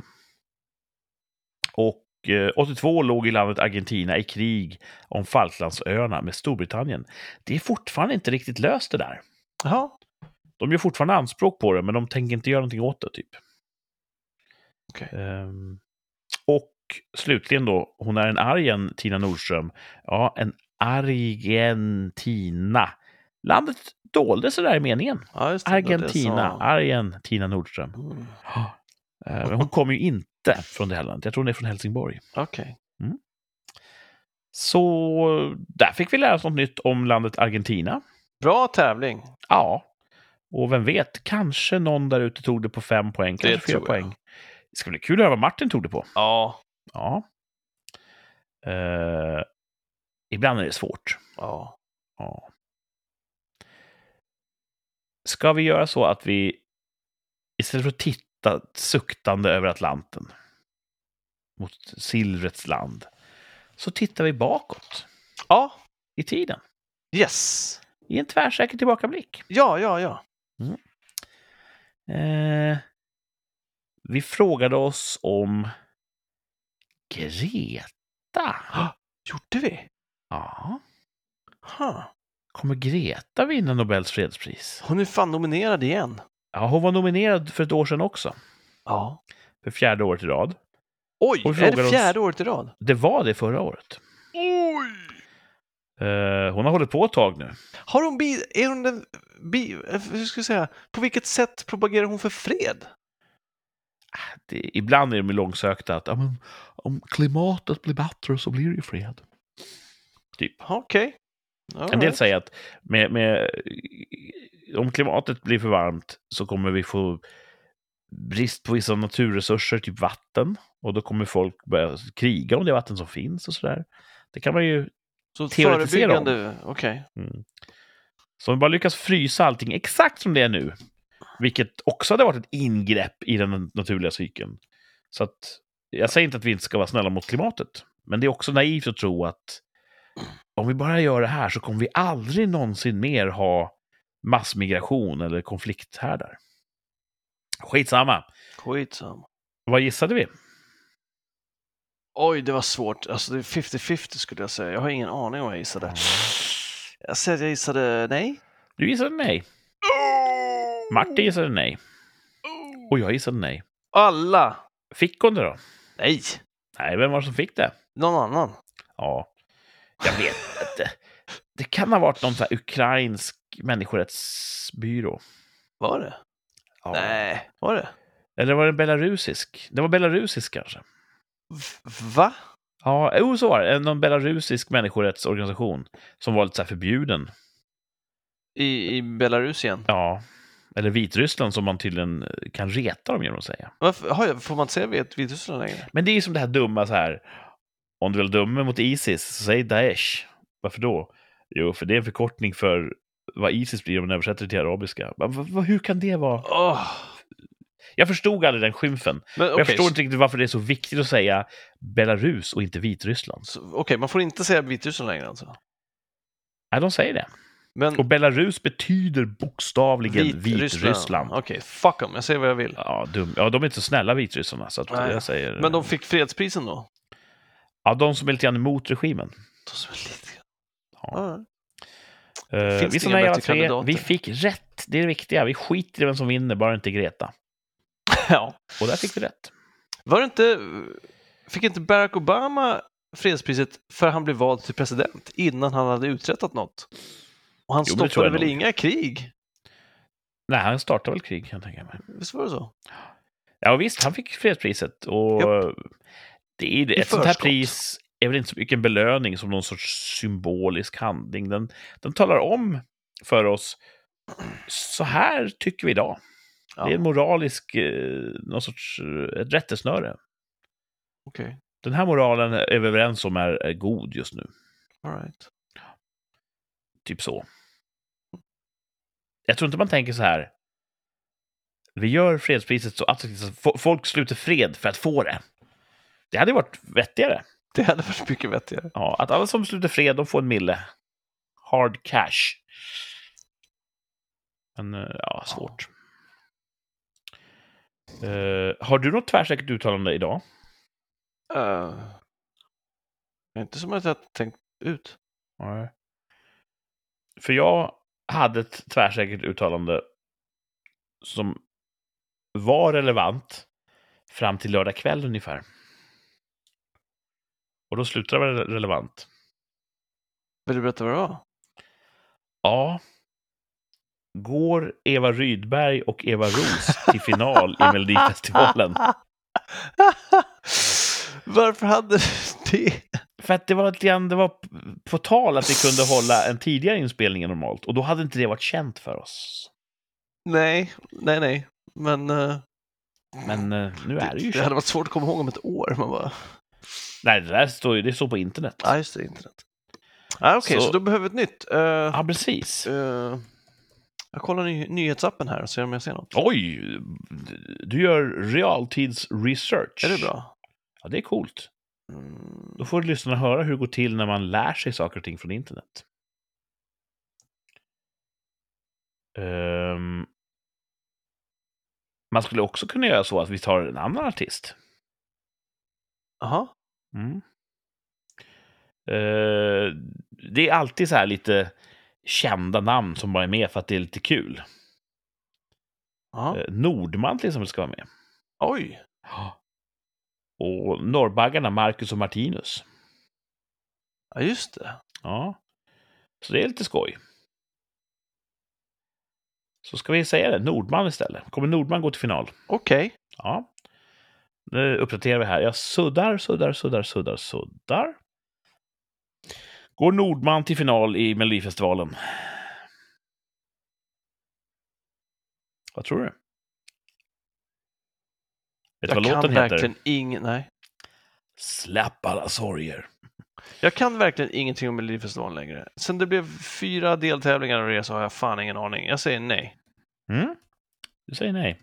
Och eh, 82 låg i landet Argentina i krig om Falklandsöarna med Storbritannien. Det är fortfarande inte riktigt löst det där. Jaha, De gör fortfarande anspråk på det, men de tänker inte göra någonting åt det, typ. Okej. Ehm, och slutligen då, hon är en argen Tina Nordström. Ja, en Argentina. Landet dolde sig där i meningen. ja, just det, det var det som- Argentina, argen Tina Nordström. Mm. Eh, Men hon kommer ju inte från det här landet. Jag tror hon är från Helsingborg. Okej. Så där fick vi lära oss något nytt om landet Argentina. Bra tävling. Ja. Och vem vet, kanske någon där ute tog det på fem poäng, kanske tror fyra jag. poäng. Det ska bli kul att höra vad Martin tog det på. Ja. Ja. Eh, ibland är det svårt. ja. Ja. Ska vi göra så att vi istället för att titta suktande över Atlanten mot silvrets land så tittar vi bakåt Ja, i tiden yes. i en tvärsäker tillbakablick. Ja, ja, ja. Eh, vi frågade oss om Greta. Gjorde vi? Ja. Huh. Kommer Greta vinna Nobels fredspris? Hon är fan nominerad igen. Ja, hon var nominerad för ett år sedan också, Ja. för fjärde året i rad. Oj, Hon är frågar det oss- fjärde året i rad? Det var det förra året. Oj! Eh, hon har hållit på ett tag nu. Har hon bi... Är hon den... Bi, eh, hur ska jag säga? På vilket sätt propagerar hon för fred? Det, ibland är de ju långsökta att ja, men, om klimatet blir bättre så blir det ju fred. Okej. All En del right. säger att med, med, om klimatet blir för varmt så kommer vi få brist på vissa naturresurser, typ vatten. Och då kommer folk börja kriga om det vatten som finns och sådär. Det kan man ju... Så teoretisera om. förebyggande, okej. Mm. Så om vi bara lyckas frysa allting exakt som det är nu, vilket också hade varit ett ingrepp i den naturliga cykeln. Så att jag säger inte att vi inte ska vara snälla mot klimatet, men det är också naivt att tro att om vi bara gör det här så kommer vi aldrig någonsin mer ha massmigration eller konflikthärdar. Skitsamma. Skitsamma. Vad gissade vi? Oj, det var svårt. Alltså det är 50-50 skulle jag säga. Jag har ingen aning om vad jag gissade. Jag säger att jag gissade nej. Du gissade nej. Martin gissade nej. Och jag gissade nej. Alla! Fick hon det då? Nej, Nej, vem var det som fick det? någon annan. Ja, jag vet inte. Det kan ha varit någon så här ukrainsk människorättsbyrå. Var det? Ja. Nej, var det? Eller var det belarusisk? Det var belarusisk kanske. V- Va? Ja, jo, så var det. En- Någon belarusisk människorättsorganisation som var lite så här förbjuden. I, i Belarus igen? Ja, eller Vitryssland som man tydligen eh, kan reta dem genom att säga. Varför, har jag, får man inte säga Vit- Vitryssland längre? Men det är ju som det här dumma så här. Om du vill dumma mot Isis, så säg Daesh. Varför då? Jo, för det är en förkortning för vad Isis blir om man översätter det till arabiska. Va- va- Hur kan det vara? Åh. Jag förstod aldrig den skymfen. Men Och okej, Jag förstår så- inte riktigt varför det är så viktigt att säga Belarus och inte Vitryssland. så- Okej, man får inte säga Vitryssland längre alltså? Nej, de säger det. Mm. Men Och Belarus betyder bokstavligen Vitryssland. Okej, fuck dem. Jag säger vad jag vill. Ja, dum. ja, de är inte så snälla vitryssarna, så att Nej. jag säger... Men de fick fredsprisen då? Ja, de som är lite grann emot regimen. De som är lite... Ja. Ja. Eh, Finns vi det som inga är alla bättre tre, kandidater? vi fick rätt. Det är det viktiga. Vi skiter i vem som vinner, bara inte Greta. ja. Och där fick vi rätt. Var det inte... Fick inte Barack Obama fredspriset för han blev vald till president innan han hade uträttat något? Och han Jo, men det tror stoppade jag väl nog. inga krig? Nej, han startade väl krig, kan jag tänka mig. Visst var det så? Ja visst, han fick fredspriset. Och det är, ett sånt här förskott. pris är väl inte så mycket en belöning som någon sorts symbolisk handling. Den, den talar om för oss, så här tycker vi idag. Ja, Det är en okej. moralisk, eh, någon sorts eh, ett rättesnöre. Den här moralen är vi överens om är, är god just nu. All right. Typ så. Jag tror inte man tänker så här. Vi gör fredspriset så attraktivt så fo- folk sluter fred för att få det. Det hade varit vettigare. Det hade varit mycket vettigare. Ja, att alla som sluter fred, de får en mille. Hard cash. Men, eh, ja, svårt. Eh, har du något tvärsäkert uttalande idag? Eh, inte som att jag tänkt ut. Nej. För jag hade ett tvärsäkert uttalande som var relevant fram till lördag kväll ungefär. Och då slutade det vara relevant. Vill du berätta vad det var? Ja. Går Eva Rydberg och Eva Ros till final i Melodifestivalen? Varför hade du det? För att det var lite grann, det var p- på tal att vi kunde hålla en tidigare inspelning än normalt. Och då hade inte det varit känt för oss. Nej, nej, nej. Men eh, Men eh, nu är det ju det, känt. hade varit svårt att komma ihåg om ett år. Man bara, Nej, det där står ju, det står på internet. ja just det, internet. Ah, Okej, Så- så... du behöver ett nytt. Eh, Ja, precis. eh, jag kollar ny- nyhetsappen här och ser om jag ser något. Oj! Du gör realtids-research. Är det bra? Ja, det är coolt. Mm, Då får lyssnarna höra hur det går till när man lär sig saker och ting från internet. Ehm, man skulle också kunna göra så att vi tar en annan artist. Jaha, Mm. Eh, det är alltid så här lite kända namn som bara är med för att det är lite kul. jaha. Eh, Nordman till exempel ska vara med. Oj, Och norrbaggarna Marcus och Martinus. ja just det. Ja. Så det är lite skoj. Så ska vi säga det, Nordman istället. Kommer Nordman gå till final? Okej. Ja. Nu uppdaterar vi här. Jag suddar, suddar, suddar, suddar, suddar. Går Nordman till final i Melodifestivalen? Vad tror du? Vet du vad jag kan låten heter? verkligen ing- nej. Släpp alla sorger. Jag kan verkligen ingenting om Melodifestivalen längre. Sen det blev fyra deltävlingar och det så har jag fan ingen aning. Jag säger nej. Mm? Du säger nej.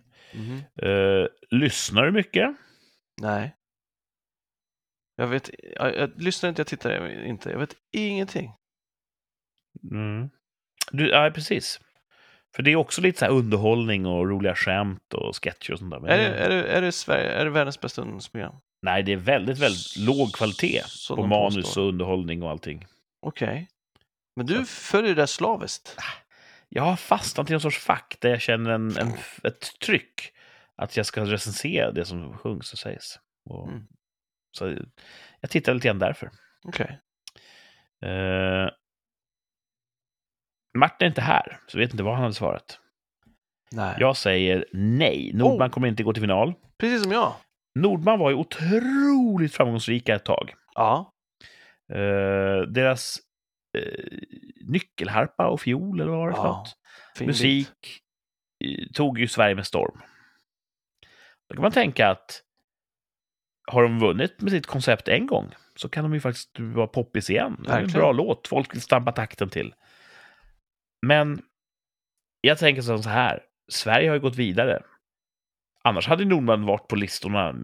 Eh, lyssnar du mycket? Nej. Jag vet, jag, jag lyssnar inte, jag tittar inte, jag vet ingenting. Mm. Du, ja, precis. För det är också lite så här underhållning och roliga skämt och sketcher och sånt där. Men- Är, det, är, det, är, det Sverige, är det världens bästa underhållningsprogram? Nej, det är väldigt, väldigt låg kvalitet Som på de manus påstår. och underhållning och allting. Okej. Men du följer det där slaviskt? Jag har fastnat i någon sorts fack där jag känner en, en, ett tryck att jag ska recensera det som sjungs och sägs. Och, Mm. Så jag tittar lite grann därför. Okej. Eh, Martin är inte här, så jag vet inte vad han hade svarat. Nej. Jag säger nej. Nordman kommer inte gå till final. Precis som jag. Nordman var ju otroligt framgångsrika ett tag. Ja. Eh, deras eh, nyckelharpa och fiol, eller vad var det för Ja, något? fin Musik bit. eh, tog ju Sverige med storm. Då kan man tänka att har de vunnit med sitt koncept en gång så kan de ju faktiskt vara poppis igen. Det är en Verkligen. bra låt, folk vill stampa takten till. Men jag tänker som så här, Sverige har ju gått vidare. Annars hade Nordman varit på listorna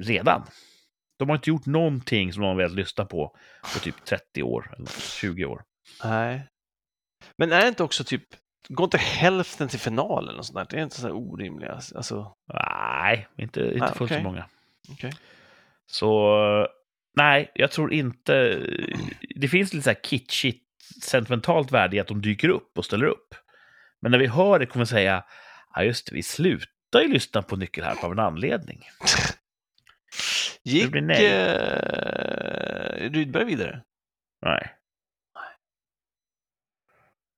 redan. De har inte gjort någonting som någon väl lyssnar på på typ 30 år, eller 20 år. Nej. Men är det inte också typ, går inte hälften till finalen och sånt där? Det är inte så här orimliga. Alltså, Nej, inte, inte Ah, fullt så okej. många. Okej. Så nej, jag tror inte... Det finns lite så här kitschigt sentimentalt värde i att de dyker upp och ställer upp. Men när vi hör det kommer vi säga, ja just det, vi slutar ju lyssna på nyckelharpa av en anledning. gick blir nej. eh, Rydberg vidare? Nej.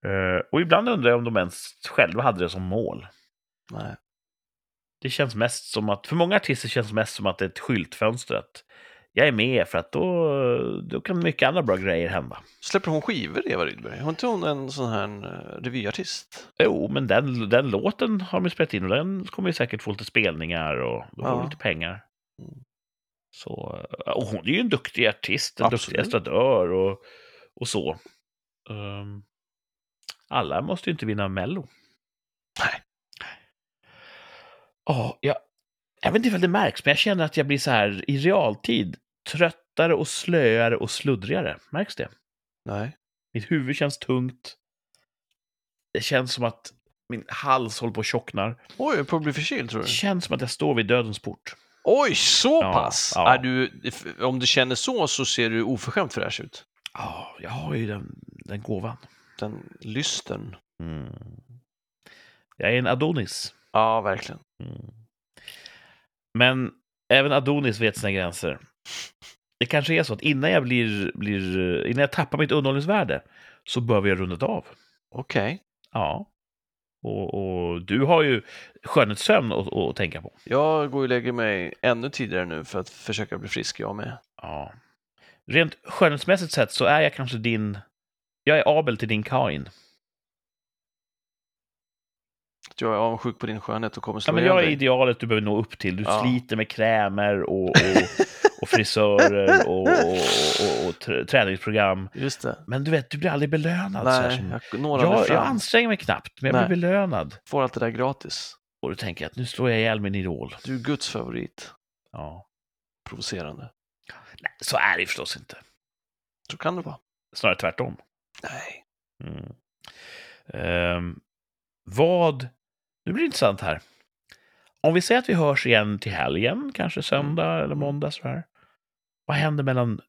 Eh, och ibland undrar jag om de ens själva hade det som mål. Nej. Det känns mest som att, för många artister känns det mest som att det är ett skyltfönster. Att jag är med för att då, då kan mycket andra bra grejer hända. Släpper hon skivor, Eva Rydberg? Har inte hon en sån här eh, revyartist? Jo, men den, den låten har de ju spelat in och den kommer ju säkert få lite spelningar och då får de Ja. lite pengar. Mm. Så, eh, och hon är ju en duktig artist, en duktig Absolut. estradör och, och så. Ehm, alla måste ju inte vinna Mello. Nej. Ja, jag, jag vet inte om det märks, men jag känner att jag blir så här i realtid tröttare och slöare och sluddrigare. Märks det? Nej. Mitt huvud känns tungt. Det känns som att min hals håller på att tjocknar. Oj, jag är på att bli förkyld tror Det du? känns som att jag står vid dödens port. Oj, så Ja, pass? ja. Är du, if- om du känner så så ser du oförskämt fräsch ut. Ja, jag har ju den, den gåvan. Den lystern. Mm. Jag är en Adonis. Ja, verkligen. Mm. Men även Adonis vet sina gränser. Det kanske är så att innan jag, blir, blir, innan jag tappar mitt underhållningsvärde så bör vi ha rundat av. Okej. Ja. Och, och du har ju skönhetssömn att, att tänka på. Jag går och lägger mig ännu tidigare nu för att försöka bli frisk jag med. Ja. Rent skönhetsmässigt sett så är jag kanske din... Jag är Abel till din Kain. Att Jag är avundsjuk på din skönhet och kommer Ja, slå men ihjäl jag är dig. idealet du behöver nå upp till. Du Ja. sliter med krämer och, och, och frisörer och, och, och, och tr- träningsprogram. Just det. Men du vet, du blir aldrig belönad. så här Nej, som... jag når aldrig jag, fram. jag anstränger mig knappt, men jag Nej. blir belönad. Får allt det där gratis. Och då tänker jag att nu slår jag ihjäl min idol. Du är Guds favorit. Ja. Provocerande. Nej, så är det förstås inte. Så kan det vara. Snarare tvärtom. Nej. Mm. Ehm, vad... Nu blir det intressant här. Om vi säger att vi hörs igen till helgen, kanske Mm. söndag eller måndag så här. Vad händer mellan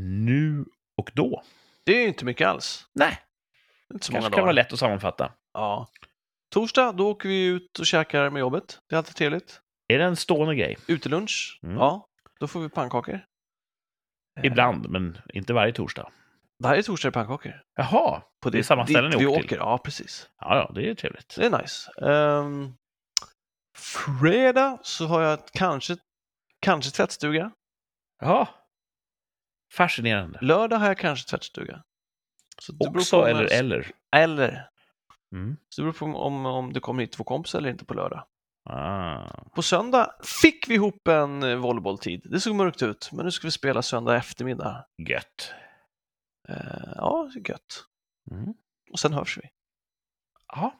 nu och då? Det är ju inte mycket alls. Nej, Det är Inte kanske så kan många dagar. vara lätt att sammanfatta. Ja. Torsdag, då åker vi ut och käkar med jobbet. Det är alltid trevligt. Är det en stående grej? Utelunch. Mm. Ja. Då får vi pannkakor. Eh, Ibland, men inte varje torsdag. Varje torsdag är pannkakor. Jaha, På Det är samma dit ställe ni vi åker till. åker. Ja, precis. ja, ja, det är trevligt. Det är nice. Ehm, fredag så har jag ett- kanske, kanske tvättstuga. Jaha, Fascinerande. Lördag har jag kanske tvättstuga. Så det beror på Också om eller jag- eller. Eller. Mm. Så det beror på om, om det kommer hit två kompisar eller inte på lördag. Ah. På söndag fick vi ihop en eh, volleybolltid. Det såg mörkt ut, men nu ska vi spela söndag eftermiddag. Gött. Eh, ja, det är gött. Mm. Och sen hörs vi. Ja.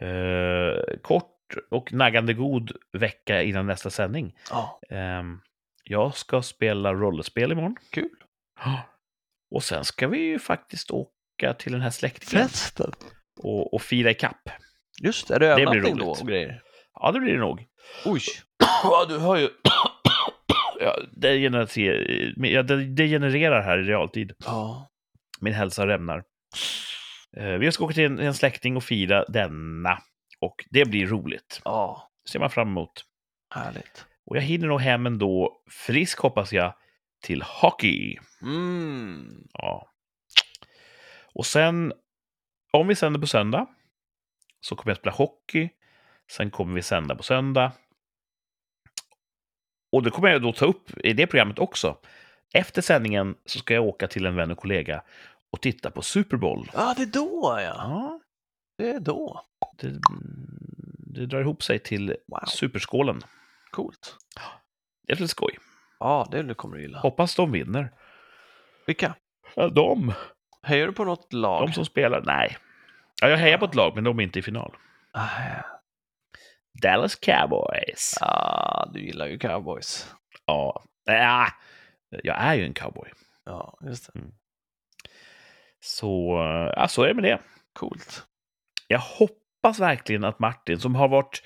Eh, kort och naggande god vecka innan nästa sändning. Ja, Ehm, jag ska spela rollspel imorgon. kul. Ja. Och sen ska vi ju faktiskt åka till den här släktingen Festen. och, och fira ikapp. Just det, är det övernattning roligt. då och grejer? Ja, det blir det nog. Oj, Ja, du hör ju... ja, det, genererar, men ja, det, det genererar här i realtid. ja. Min hälsa rämnar. Eh, Vi ska åka till en, en släkting och fira denna. Och det blir roligt. ja, ser man fram emot. härligt. Och jag hinner nog hem ändå, frisk hoppas jag, till hockey. Mm. Ja. Och sen, om vi sänder på söndag, så kommer jag spela hockey. Sen kommer vi sända på söndag. Och det kommer jag då ta upp i det programmet också. Efter sändningen så ska jag åka till en vän och kollega och titta på Super Bowl. Ja, det är då ja. Ja, Det är då. det, det drar ihop sig till Wow, Superskålen. coolt. Det är lite skoj. Ja, det kommer du gilla. Hoppas de vinner. Vilka? Ja, de. Hejar du på något lag? De som spelar? Nej. Ja, jag hejar på ett lag, men de är inte i final. Ah, Dallas Cowboys. ja, du gillar ju cowboys. Ja. ja. Jag är ju en cowboy. Ja, just det. Så, ja, så är det med det. Coolt. Jag hoppas verkligen att Martin, som har varit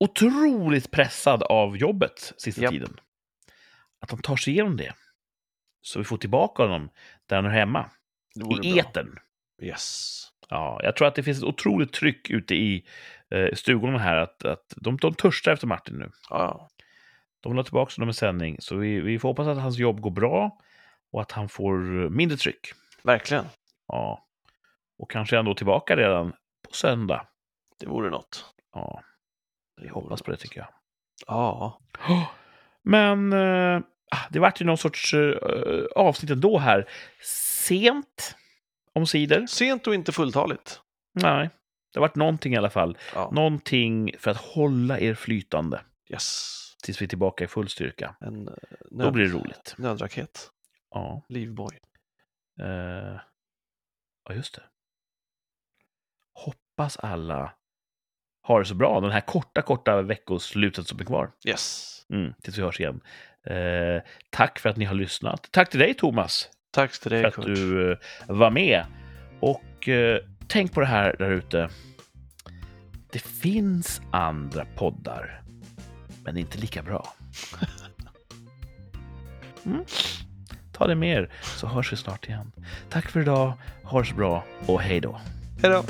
otroligt pressad av jobbet sista Japp. tiden, att han tar sig igenom det. Så vi får tillbaka honom där han är hemma, Det vore i bra. etern. Yes. Ja, jag tror att det finns ett otroligt tryck ute i eh, stugorna här, att, att de, de törstar efter Martin nu. Ja, De vill ha tillbaka honom i sändning, så vi, vi får hoppas att hans jobb går bra och att han får eh, mindre tryck. verkligen. Ja. Och kanske är han då tillbaka redan på söndag. Det vore något. Ja. Vi hoppas på det tycker jag. Ja, Men eh, ah, det vart ju någon sorts eh, avsnitt ändå här. Sent om sidor. sent och inte fulltaligt. Nej, det vart någonting i alla fall. Ja. Någonting för att hålla er flytande Yes. tills vi är tillbaka i full styrka. En eh, nöd, Då blir det roligt. nödraket. Ja. Livboj. Eh, ja, just det. Hoppas alla har det så bra den här korta, korta veckoslutet som är kvar. Yes. Mm, tills vi hörs igen. Eh, tack för att ni har lyssnat. Tack till dig, Thomas, Tack till för dig, att Kurt. du eh, var med. Och eh, tänk på det här där ute. Det finns andra poddar, men inte lika bra. Mm. Ta det med er, så hörs vi snart igen. Tack för idag, ha det så bra och hej då. Hej då.